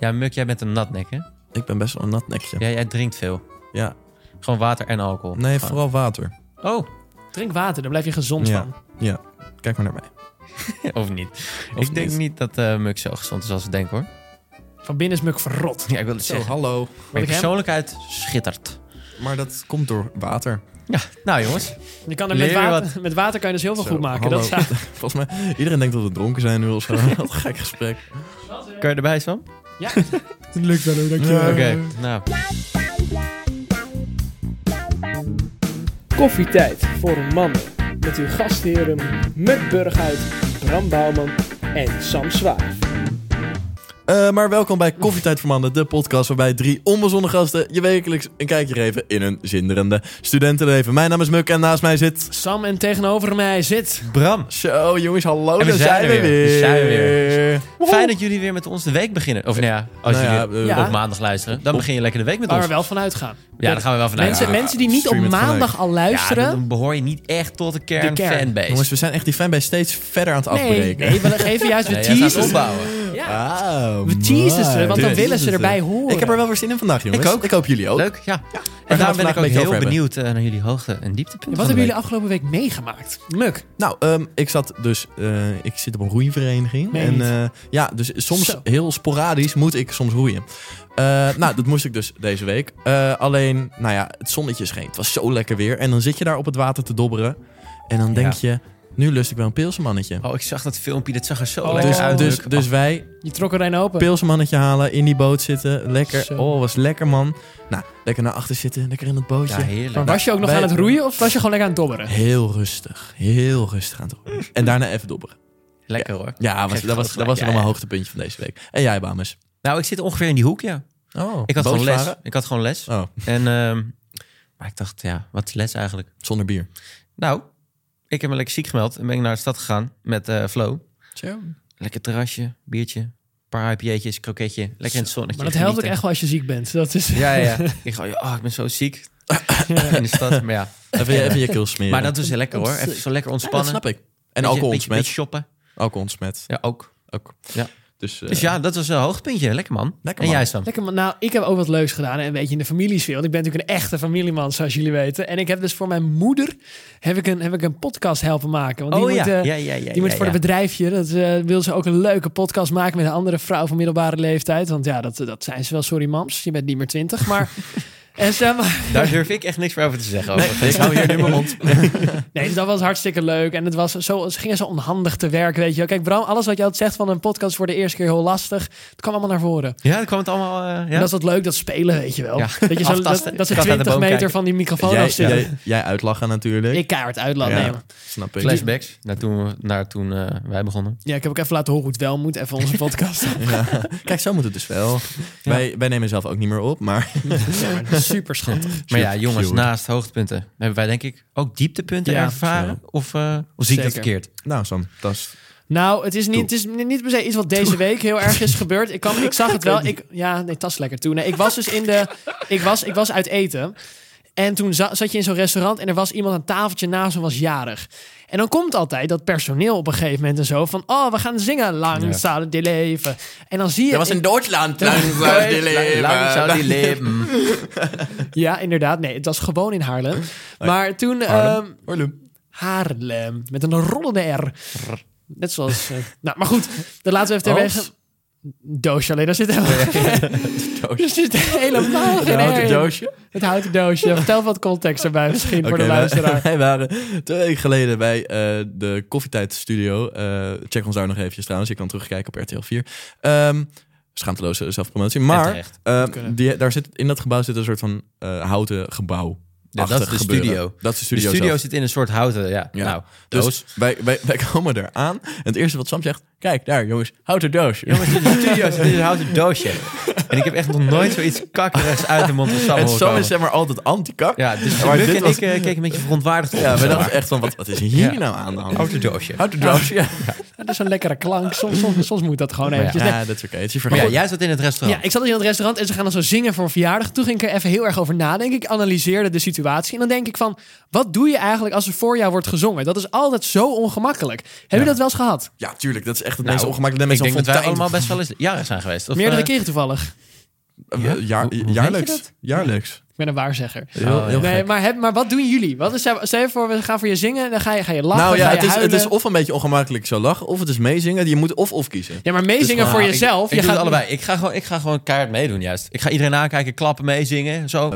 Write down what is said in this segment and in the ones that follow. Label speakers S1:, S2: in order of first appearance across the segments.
S1: Ja, Muk, jij bent een natnek, hè?
S2: Ik ben best wel een nat nekje.
S1: Ja, jij drinkt veel.
S2: Ja.
S1: Gewoon water en alcohol.
S2: Nee,
S1: Gewoon.
S2: vooral water.
S1: Oh,
S3: Drink water, daar blijf je gezond
S2: Ja.
S3: van.
S2: Kijk maar naar mij.
S1: of niet. ik denk
S2: niet.
S1: niet dat eh Muk zo gezond is als we denken, hoor.
S3: Van binnen is muk verrot.
S1: Ja, ik wil het
S2: Zo,
S1: zeggen.
S2: hallo.
S1: Mijn
S3: ik heb-
S1: persoonlijkheid schittert.
S2: Maar dat komt door water.
S1: Ja, nou jongens.
S3: Je kan er
S1: Leer
S3: met
S1: je
S3: water, met water kan je dus heel veel
S2: Zo,
S3: goed maken.
S2: hallo.
S3: Dat is
S2: Volgens mij, iedereen denkt dat we dronken zijn nu of zo. Wat een gek gesprek.
S1: Kun je erbij, Sam?
S3: Ja.
S1: lukt wel, dankjewel. Oké, nou.
S3: Koffietijd voor mannen. Met uw gastheren Muk Burghuis, Bram Bouwman en Sam Zwaar.
S2: Eh, maar welkom bij Koffietijd voor Mannen, de podcast waarbij drie onbezonnen gasten je wekelijks een kijkje geven in hun zinderende studentenleven. Mijn naam is Muk en naast mij zit...
S3: Sam en tegenover mij zit...
S1: Bram,
S2: Zo, jongens, hallo,
S1: En we
S2: daar
S1: zijn er weer.
S2: We
S1: We zijn er
S2: weer.
S1: fijn dat jullie weer met ons de week beginnen. Of nou ja, als
S2: Nou ja,
S1: jullie
S2: eh,
S3: Ja.
S1: op maandag luisteren, dan begin je lekker de week met
S3: Waar
S1: ons.
S3: we wel van uitgaan.
S1: Ja, daar gaan we wel vanuit.
S3: mensen,
S1: Ja.
S3: mensen die niet op
S2: stream het
S3: maandag al luisteren...
S1: Ja, dan behoor je niet echt tot de kern,
S3: De kern.
S1: fanbase.
S2: Jongens, we zijn echt die fanbase steeds verder aan het
S3: Nee,
S2: afbreken.
S3: nee, we geven juist de
S1: Nee, jij gaat
S3: teasers.
S1: opbouwen.
S3: Ja,
S2: Ah,
S3: we teasen ze,
S2: mooi.
S3: want dan
S1: Tuurlijk.
S3: willen ze erbij horen.
S2: Ik heb er wel weer zin in vandaag, jongens.
S1: Ik ook.
S2: Ik hoop jullie ook.
S1: Leuk, ja.
S2: we
S1: en
S2: het
S1: daar ben
S2: vandaag
S1: ik
S2: een
S1: ook
S2: beetje over
S1: heel
S2: hebben.
S1: benieuwd eh, naar jullie hoogte- en dieptepunten. van de
S3: Wat hebben
S1: week.
S3: jullie afgelopen week meegemaakt? Muk,
S2: Nou, ehm, ik zat dus... eh, ik zit op een roeivereniging.
S3: Meen
S2: en
S3: niet.
S2: eh, ja, dus soms
S3: Zo.
S2: heel sporadisch moet ik soms roeien. Eh, nou, dat moest ik dus deze week. Eh, alleen, nou ja, het zonnetje scheen. Het was zo lekker weer. En dan zit je daar op het water te dobberen. En dan denk je, nu lust ik wel een pilsenmannetje.
S1: Oh, ik zag dat filmpje, dat zag er zo
S3: Oh.
S1: lekker
S2: dus,
S1: uit.
S2: dus,
S1: Leuk.
S2: dus wij
S3: je trok er een open.
S2: pilsenmannetje halen, in die boot zitten. Lekker.
S3: Zo.
S2: Oh, was lekker, man. Nou, lekker naar achter zitten. Lekker in het bootje.
S1: ja, heerlijk.
S3: Was je ook nog
S2: Wij-
S3: aan het roeien of was je gewoon lekker aan het dobberen?
S2: Heel rustig. Heel rustig aan het roeien. En daarna even dobberen.
S1: Lekker hoor.
S2: Ja, was,
S1: Geef
S2: dat,
S1: groot
S2: was, dat
S1: gelijk.
S2: was
S1: Ja,
S2: wel
S1: ja.
S2: mijn hoogtepuntje van deze week. En jij, Bames?
S1: Nou, ik zit ongeveer in die hoek, ja.
S2: Oh,
S1: Ik had gewoon les. Ik had gewoon les.
S2: Oh,
S1: En, ehm, maar ik dacht, ja, wat is les eigenlijk?
S2: zonder bier.
S1: Nou, ik heb me lekker ziek gemeld en ben ik naar de stad gegaan met eh Flo. Lekker terrasje, biertje, paar IPA'tjes, kroketje. Lekker in het zonnetje.
S3: Maar dat helpt ook
S1: genieten.
S3: echt wel als je ziek bent. Dat is...
S1: Ja, ja. ja. ik ga, oh, ik ben zo ziek. In de stad, maar ja.
S2: Even, je- even je keel smeren.
S1: Maar dat is lekker hoor. Even zo lekker
S2: Ja, dat
S1: ontspannen.
S2: snap ik. En
S1: Beetje-
S2: alcohol
S1: beetje,
S2: ontsmet.
S1: beetje shoppen.
S2: Alcohol ontsmet.
S1: Ja, ook.
S2: Ook.
S1: Ja.
S2: Dus, eh,
S1: Dus ja, dat was een hoogtepuntje. Lekker man.
S2: Lekker,
S1: en
S2: man.
S1: jij Sam?
S3: Lekker, man. nou, ik heb ook wat leuks gedaan. En een beetje in de familiesfeer. Want ik ben natuurlijk een echte familieman, zoals jullie weten. En ik heb dus voor mijn moeder heb ik een, heb ik een podcast helpen maken. Want die
S1: oh
S3: moet,
S1: ja.
S3: eh,
S1: ja, ja, ja.
S3: die moet
S1: ja,
S3: voor
S1: ja.
S3: het bedrijfje. Dat eh, wil ze ook een leuke podcast maken met een andere vrouw van middelbare leeftijd. Want ja, dat, dat zijn ze wel. Sorry, mams. Je bent niet meer twintig. Maar. En ze,
S1: Daar durf ik echt niks meer over te zeggen. Over.
S2: Ik hou hier nu mijn mond.
S3: Nee, dus dat was hartstikke leuk. En het was zo, ze gingen zo onhandig te werk, weet je wel. Kijk, Bram, alles wat je had zegt van een podcast voor de eerste keer heel lastig. Het kwam allemaal naar voren.
S1: Ja, dat kwam het allemaal... eh, ja?
S3: En dat is wat leuk, dat spelen, weet je wel.
S1: Ja,
S3: Dat, je zo, dat,
S1: aftasten.
S3: dat ze
S1: Kat uit de
S3: 20
S1: boom
S3: meter
S1: kijken.
S3: van die microfoon
S2: Jij,
S3: af zitten.
S2: jij, jij uitlachen natuurlijk.
S3: Ik kaart uitlaat
S2: Ja.
S3: nemen.
S2: Snap ik.
S1: Flashbacks naar toen, we- naar toen eh, wij begonnen.
S3: Ja, ik heb ook even laten horen hoe het wel moet. Even onze podcast.
S2: Ja. Kijk, zo moet het dus wel. Wij, wij nemen zelf ook niet meer op, maar...
S3: ja, maar super schattig.
S1: Maar ja, jongens,
S2: Sjoerd.
S1: naast hoogtepunten hebben wij denk ik ook dieptepunten
S3: Ja.
S1: ervaren. Of, eh, of zie ik dat
S3: Zeker.
S1: verkeerd?
S2: Nou Sam, dat is...
S3: Nou, het is niet, het is niet per se iets wat deze week heel erg is gebeurd. Ik, kan, ik zag het wel. Ik, ja, nee, tas lekker toe. Nee, ik was dus in de... Ik was, ik was uit eten. En toen za- zat je in zo'n restaurant en er was iemand aan een tafeltje naast en was jarig. En dan komt altijd dat personeel op een gegeven moment en zo van... Oh, we gaan zingen. Lang zal die leven. En dan zie je... in-
S2: Duitsland.
S1: Lang zou die leven.
S3: ja, inderdaad. Nee, het was gewoon in Haarlem. Maar toen... ehm, Haarlem. Met een rollende R. Net zoals... eh, nou, maar goed. Dan laten we even terwege... Doosje alleen. Daar zit helemaal, er zit helemaal geen R in.
S2: doosje.
S3: Het houten doosje. Vertel wat context erbij misschien voor de
S2: Oké, wij-
S3: luisteraar.
S2: Wij waren twee weken geleden bij eh, de Koffietijdstudio. Eh check ons daar nog eventjes trouwens. Je kan terugkijken op RTL 4. Ehm, schaamteloze zelfpromotie.
S1: En
S2: Maar
S1: terecht.
S2: eh,
S3: kunnen.
S2: die, daar zit, in dat gebouw zit een soort van eh, houten gebouw.
S1: Ja, dat is de
S2: gebeuren.
S1: studio.
S2: Dat is de studio
S1: de studio
S2: zelf.
S1: zit in een soort houten, ja.
S2: Ja.
S1: Nou,
S2: Dus
S1: doos.
S2: wij, wij, wij komen eraan. En het eerste wat Sam zegt, kijk daar jongens, houten doos.
S1: Jongens, in de studio zit in een houten doosje. En ik heb echt nog nooit zoiets kakkerigs uit de mond van Sam
S2: en
S1: horen
S2: Sam
S1: komen.
S2: is zeg maar altijd anti-kak.
S1: Ja, dus
S2: Maar
S1: Luc
S2: dit
S1: en
S2: was-
S1: ik eh, keken een beetje verontwaardigd op.
S2: Ja,
S1: zeg
S2: we
S1: maar.
S2: dachten echt van, wat, wat is hier
S1: Ja.
S2: nou aan de hand?
S1: Houten doosje.
S2: Houten doos, ja.
S3: Dat is een lekkere klank. Soms, soms, soms moet dat gewoon
S1: Maar ja.
S3: eventjes. Nee.
S2: Ja, dat is oké. Het is je
S1: Maar ja,
S2: verhaal.
S1: jij zat in het
S2: Oh.
S3: Ja,
S1: restaurant.
S3: ik zat dus in het restaurant en ze gaan dan zo zingen voor een verjaardag. Toen ging ik er even heel erg over nadenken. Ik analyseerde de situatie. En dan denk ik van, wat doe je eigenlijk als er voor jou wordt gezongen? Dat is altijd zo ongemakkelijk. Heb je dat wel eens gehad?
S2: Ja, tuurlijk. Dat is echt het
S1: Nou,
S2: meest ongemakkelijke.
S1: ik
S2: Dat
S1: denk dat wij
S2: mensen een
S1: allemaal best wel eens jaren zijn geweest. Of,
S3: Meerdere
S1: eh,
S3: keren toevallig.
S2: fontein. Eh, jaar-
S1: Hoe- hoe weet je
S2: Jaarlijks.
S1: dat?
S2: Jaarlijks.
S3: Ik ben een waarzegger.
S2: Heel, Oh, heel
S3: nee,
S2: gek.
S3: maar, heb, maar wat doen jullie? Wat is, stel je voor, we gaan voor je zingen. Dan ga je, ga je lachen,
S2: Nou ja,
S3: Oh, ga je
S2: het is, het
S3: huilen.
S2: is of een beetje ongemakkelijk zo lachen, of het is meezingen. Je moet of of kiezen.
S3: Ja, maar meezingen
S2: dus-
S3: voor
S1: nou,
S3: jezelf.
S1: Ik, ik
S3: je
S1: doe
S3: gaat
S1: het allebei. Ik ga, gewoon, ik ga gewoon keihard meedoen juist. Ik ga iedereen aankijken, klappen, meezingen. Zo.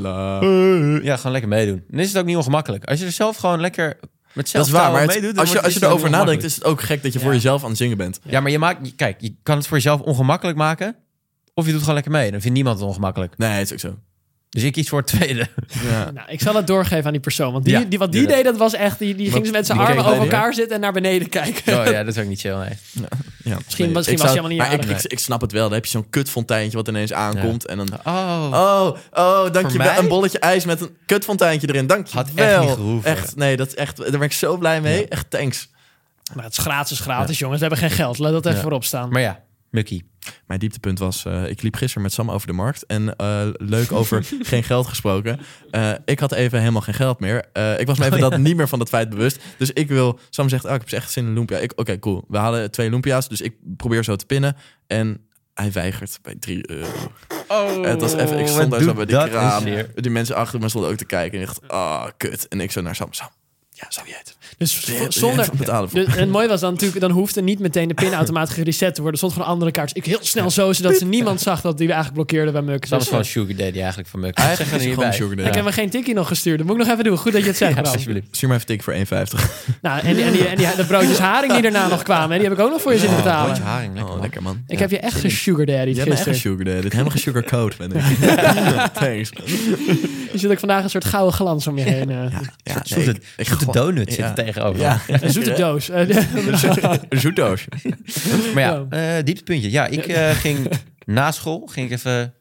S1: Ja, gewoon lekker meedoen. Dan is het ook niet ongemakkelijk. Als je er zelf gewoon lekker met
S2: Dat
S1: zelf
S2: is waar, maar het-
S1: meedoet... dan
S2: als je,
S1: wordt- is
S2: als je
S3: dus
S1: het
S2: erover
S1: heel
S2: nadenkt, is het ook gek dat je voor jezelf aan het zingen bent.
S1: Ja, maar je maakt... Kijk, je kan het voor jezelf ongemakkelijk maken... Of je doet gewoon lekker mee. Dan vindt niemand het ongemakkelijk.
S2: Nee, het is ook zo.
S1: Dus ik kies voor het tweede.
S2: Ja.
S3: Nou, ik zal het doorgeven aan die persoon. Want die,
S1: Ja,
S3: die, wat die
S2: doe dat.
S3: deed, dat was echt... Die, die ging
S2: Wat-
S3: met zijn
S2: die
S3: armen
S2: keek
S3: over
S2: bij die,
S3: elkaar zitten en naar beneden kijken.
S1: Oh ja, dat is ook niet chill, nee.
S2: Ja.
S3: Misschien-
S2: Nee,
S3: misschien
S2: ik
S3: was
S2: zou-
S3: hij helemaal niet
S2: Maar ik,
S3: aardig.
S2: ik, ik snap het wel. Dan heb je zo'n kutfonteintje wat ineens aankomt. En dan...
S1: Oh,
S2: Oh, oh, dankjewel.
S1: mij?
S2: Een bolletje ijs met een kutfonteintje erin. Dankjewel.
S1: Had echt niet gehoeven.
S2: Echt, nee, dat is echt, daar ben ik zo blij mee. Echt thanks.
S3: Maar het is gratis, gratis, jongens. We hebben geen geld. Laat dat even
S1: Ja.
S3: voorop staan.
S1: maar ja, Mucky.
S2: Mijn dieptepunt was, eh, ik liep gisteren met Sam over de markt. En eh, leuk over geen geld gesproken. Eh, ik had even helemaal geen geld meer. Eh, ik was
S1: Oh,
S2: me even dat niet meer van dat feit bewust. Dus ik wil, Sam zegt, oh, ik heb echt zin in een lumpia. Ik, Oké, cool. We hadden twee lumpia's, dus ik probeer zo te pinnen. En hij weigert bij 3 euro.
S1: Oh,
S2: het was even, ik stond daar zo bij die kraam.
S1: Oké,
S2: Die mensen achter me stonden ook te kijken. En ik dacht, ah, kut. En ik zo naar Sam, Sam, ja, zou jij het?
S3: Dus
S2: Wil jij- wil jij
S3: zonder...
S2: het betalen voor?
S3: Dus, en het mooie was dan natuurlijk, dan hoefde niet meteen de pinautomaat gereset te worden. Er stond gewoon een andere kaart. Dus ik heel snel zo, zodat ze niemand zag dat die we eigenlijk blokkeerden bij Muk.
S1: Dat
S3: Dus,
S1: was gewoon Sugar Daddy eigenlijk van Mucky.
S2: Eigenlijk
S1: Zeg er
S2: is het
S1: hierbij.
S2: gewoon Sugar Daddy.
S3: ik heb me geen tikkie nog gestuurd. Dat moet ik nog even doen. Goed dat je het zegt.
S1: Ja,
S3: Bram.
S1: alsjeblieft.
S2: Stuur maar even tik voor 1,50.
S3: nou, en, die, en, die, en die- de broodjes haring die daarna nog kwamen, hè, die heb ik ook nog voor je zitten betalen.
S1: Broodje haring, lekker
S2: Oh,
S1: man.
S2: lekker man.
S3: Ik heb je echt gesugardaddied
S2: Jij bent echt
S3: gisteren.
S2: gesugar daddy. Dit helemaal gesugarcoat ben ik. Thanks.
S3: Je zit ook vandaag een soort gouden glans om je heen. eh.
S2: Ja,
S1: Zoete, zoete donut zit er tegenover.
S2: Ja.
S3: Een zoete doos. Eh,
S2: Een zoetdoos.
S1: Maar ja, eh dieptepuntje. Ja, ik eh, ging na school, ging ik even... Nou,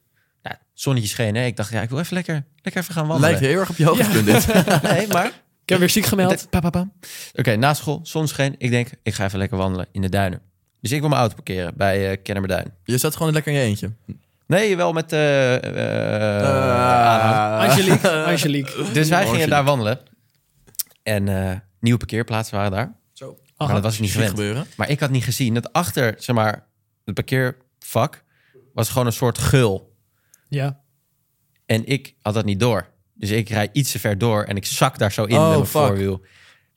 S1: het zonnetje scheen, hè. Ik dacht, ja, ik wil even lekker, lekker even gaan wandelen.
S2: Lijkt heel erg op je hoogtepunt dit.
S1: Nee, maar...
S3: Ik heb weer ziek gemeld.
S1: Da- pa, pa, pa. Oké, na school, zon scheen. Ik denk, ik ga even lekker wandelen in de duinen. Dus ik wil mijn auto parkeren bij eh Kennemerduin.
S2: Je zat gewoon lekker in je eentje.
S1: Nee, wel met... eh, eh,
S2: Ah,
S1: ah. aanhang.
S3: Angelique. Angelique.
S1: Dus wij
S2: Angelique.
S1: gingen daar wandelen. En eh, nieuwe parkeerplaatsen waren daar.
S3: Oh,
S1: Maar dat was ik niet
S2: Zie je
S1: gewend.
S2: gebeuren.
S1: Maar ik had niet gezien dat achter, zeg maar, het parkeervak was gewoon een soort gul.
S3: ja.
S1: En ik had dat niet door. Dus ik rijd iets te ver door en ik zak daar zo in
S2: Oh,
S1: met mijn
S2: fuck.
S1: voorwiel.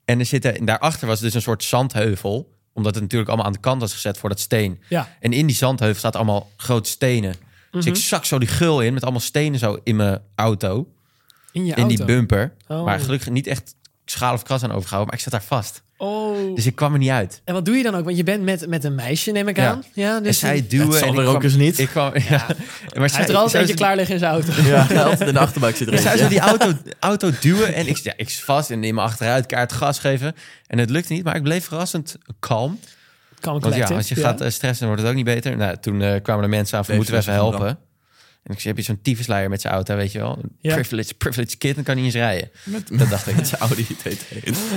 S1: En, er zitten, en daarachter was dus een soort zandheuvel. Omdat het natuurlijk allemaal aan de kant was gezet voor dat steen.
S3: Ja.
S1: En in die zandheuvel staat allemaal grote stenen. Dus
S2: Mhm.
S1: ik zak zo die gul in met allemaal stenen zo in mijn auto.
S3: In je
S1: in
S3: auto.
S1: die bumper.
S3: Oh.
S1: Maar gelukkig niet echt schaal of kras aan overgehouden. Maar ik zat daar vast.
S3: Oh.
S1: Dus ik kwam er niet uit.
S3: En wat doe je dan ook? Want je bent met, met een meisje, neem ik
S1: Ja.
S3: aan. Ja,
S1: En
S3: dus
S1: zij duwen.
S2: zal
S1: en ik
S2: er ook
S1: kwam-
S2: eens niet.
S1: Ik kwam, ja. Maar
S3: hij heeft
S1: zij,
S3: er altijd
S1: zij-
S3: eentje klaar liggen in zijn auto.
S2: Ja, altijd in de achterbak zit er
S1: Dus hij
S2: eentje.
S1: zou die auto, auto duwen en ik, ja, ik zit vast en in mijn achteruitkaart gas geven. En het lukte niet, maar ik bleef verrassend kalm.
S3: Kan
S1: Want
S3: ik
S1: ja,
S3: collecten.
S1: als je gaat eh, stressen, dan wordt het ook niet beter. Nou, toen eh, kwamen de mensen aan van,
S2: Deze
S1: moeten we even
S2: mensen van
S1: helpen? En ik zei, heb je zo'n tyfusleier met zijn auto, weet je wel?
S3: Ja.
S1: Privileged, privileged kid, dan kan hij eens rijden.
S2: Dat dacht ik. Het is een Audi TT.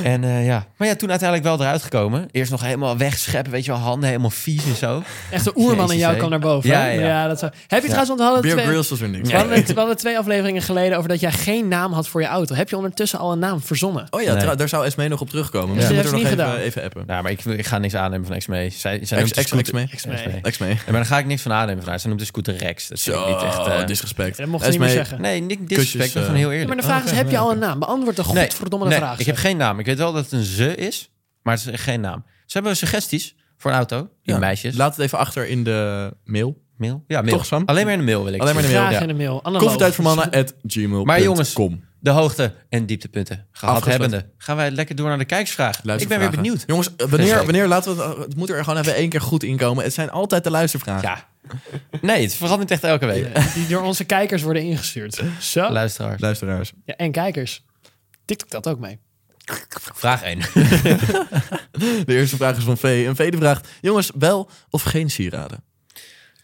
S1: En eh, ja, maar ja, toen uiteindelijk wel eruit gekomen. Eerst nog helemaal wegscheppen, weet je wel, handen helemaal vies en zo.
S3: Echt een oerman in
S1: Jezus,
S3: jou
S1: hé.
S3: kwam naar boven.
S1: Ja,
S3: eh, hè?
S1: ja.
S3: dat zou... Heb je trouwens, want we hadden,
S2: Beer
S3: twee,
S2: Grylls was er niks.
S3: we, hadden het- we hadden twee afleveringen geleden over dat jij geen naam had voor je auto. Heb je ondertussen al een naam verzonnen?
S2: Oh ja,
S1: Nee.
S2: trouw- daar zou Esmee nog op terugkomen.
S3: Ja.
S2: Misschien
S3: Dat
S2: moeten we
S3: heeft
S2: nog
S3: ze niet
S2: even,
S3: gedaan.
S2: even appen.
S1: Nou, maar ik, ik ga niks aannemen van X-Mee. Zij, zij
S2: Ex,
S1: noemt de
S2: ex,
S1: scooter...
S2: Esmee.
S3: X-Mee.
S2: Esmee.
S1: Ja, maar daar ga ik niks van aannemen van haar. Ze noemt de scooter Rex. Dat vind ik niet echt... eh,
S2: Zo, E disrespect.
S3: Dat mocht je niet meer
S2: Esmee,
S3: zeggen.
S1: Nee, niet
S2: Kusjes,
S1: disrespect, maar
S2: eh,
S1: van heel
S3: Ja,
S1: eerlijk.
S3: maar de vraag Oh, is, heb je al een naam? Beantwoord de godverdomme
S1: nee,
S3: vraag.
S1: ik heb
S3: zeg.
S1: geen naam. Ik weet wel dat het een ze is, maar het is echt geen naam. Ze hebben suggesties voor een auto. Die
S2: ja,
S1: meisjes.
S2: Laat het even achter in de mail.
S1: mail. Ja, mail.
S2: Toch, Sam?
S1: Alleen maar in de mail wil ik.
S2: Alleen maar in de
S3: Graag
S2: mail.
S3: in de mail. Analoog.
S2: Koffietijd voor mannen at gmail.com.
S1: Maar jongens, de hoogte en dieptepunten gehad
S2: Afgesloten.
S1: hebbende. Gaan wij lekker door naar de kijksvraag. Ik ben weer
S2: Luistervragen.
S1: benieuwd.
S2: Jongens, eh, wanneer,
S1: Vreselijk.
S2: wanneer laten we het... Het moet er gewoon even één keer goed inkomen. Het zijn altijd de luistervragen.
S1: Ja. Nee, het verandert echt elke week.
S3: Die door onze kijkers worden ingestuurd. Zo.
S1: Luisteraars.
S2: Luisteraars.
S3: Ja, en kijkers. TikTok dat ook mee?
S1: Vraag 1.
S2: De eerste vraag is van V. En V de vraagt, jongens, wel of geen sieraden?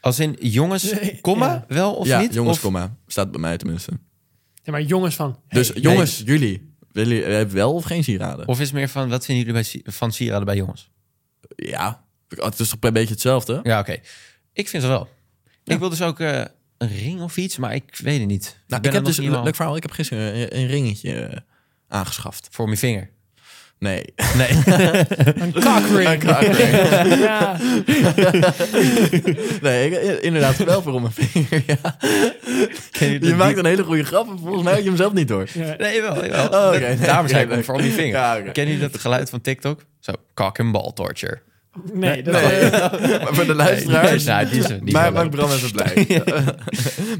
S1: Als in jongens,
S3: Nee,
S1: komma,
S3: ja.
S1: wel of
S2: ja,
S1: niet?
S2: jongens,
S1: Of-
S2: komma. Staat bij mij tenminste.
S3: Ja, maar jongens van.
S2: dus
S3: hey,
S2: jongens, jullie, willen jullie hebben wel of geen sieraden?
S1: Of is het meer van, wat vinden jullie bij, si- van sieraden bij jongens?
S2: Ja, het is toch een beetje hetzelfde?
S1: Ja, oké. Ik vind ze wel. Ik wil dus ook eh, een ring of iets, maar ik weet het niet.
S2: Nou, ik,
S1: ben er
S2: heb
S1: nog
S2: dus,
S1: niet helemaal
S2: leuk verhaal, ik heb gisteren een, een ringetje eh, aangeschaft.
S1: voor mijn vinger.
S2: Nee.
S1: Nee.
S3: Een kakring. ja.
S2: nee, ik- inderdaad wel voor om mijn vinger. Ja.
S1: Ken
S2: Je
S1: dat die-
S2: maakt een hele goede grap en volgens mij had je hem zelf niet door.
S3: ja.
S1: Nee, wel. jawel.
S2: Oh, oké.
S1: Dat- Daarom zei ik
S2: Nee,
S1: hem voor om je
S2: nee.
S1: vinger.
S2: Ja, oké.
S1: Ken je dat geluid van TikTok? Zo, kak en bal torture.
S3: Nee, dat,
S2: Nee.
S3: eh,
S2: Maar voor de luisteraars.
S1: Nee, nou, die is, die is
S2: maar
S1: wel
S2: maakt
S1: leuk.
S2: Bram even blij.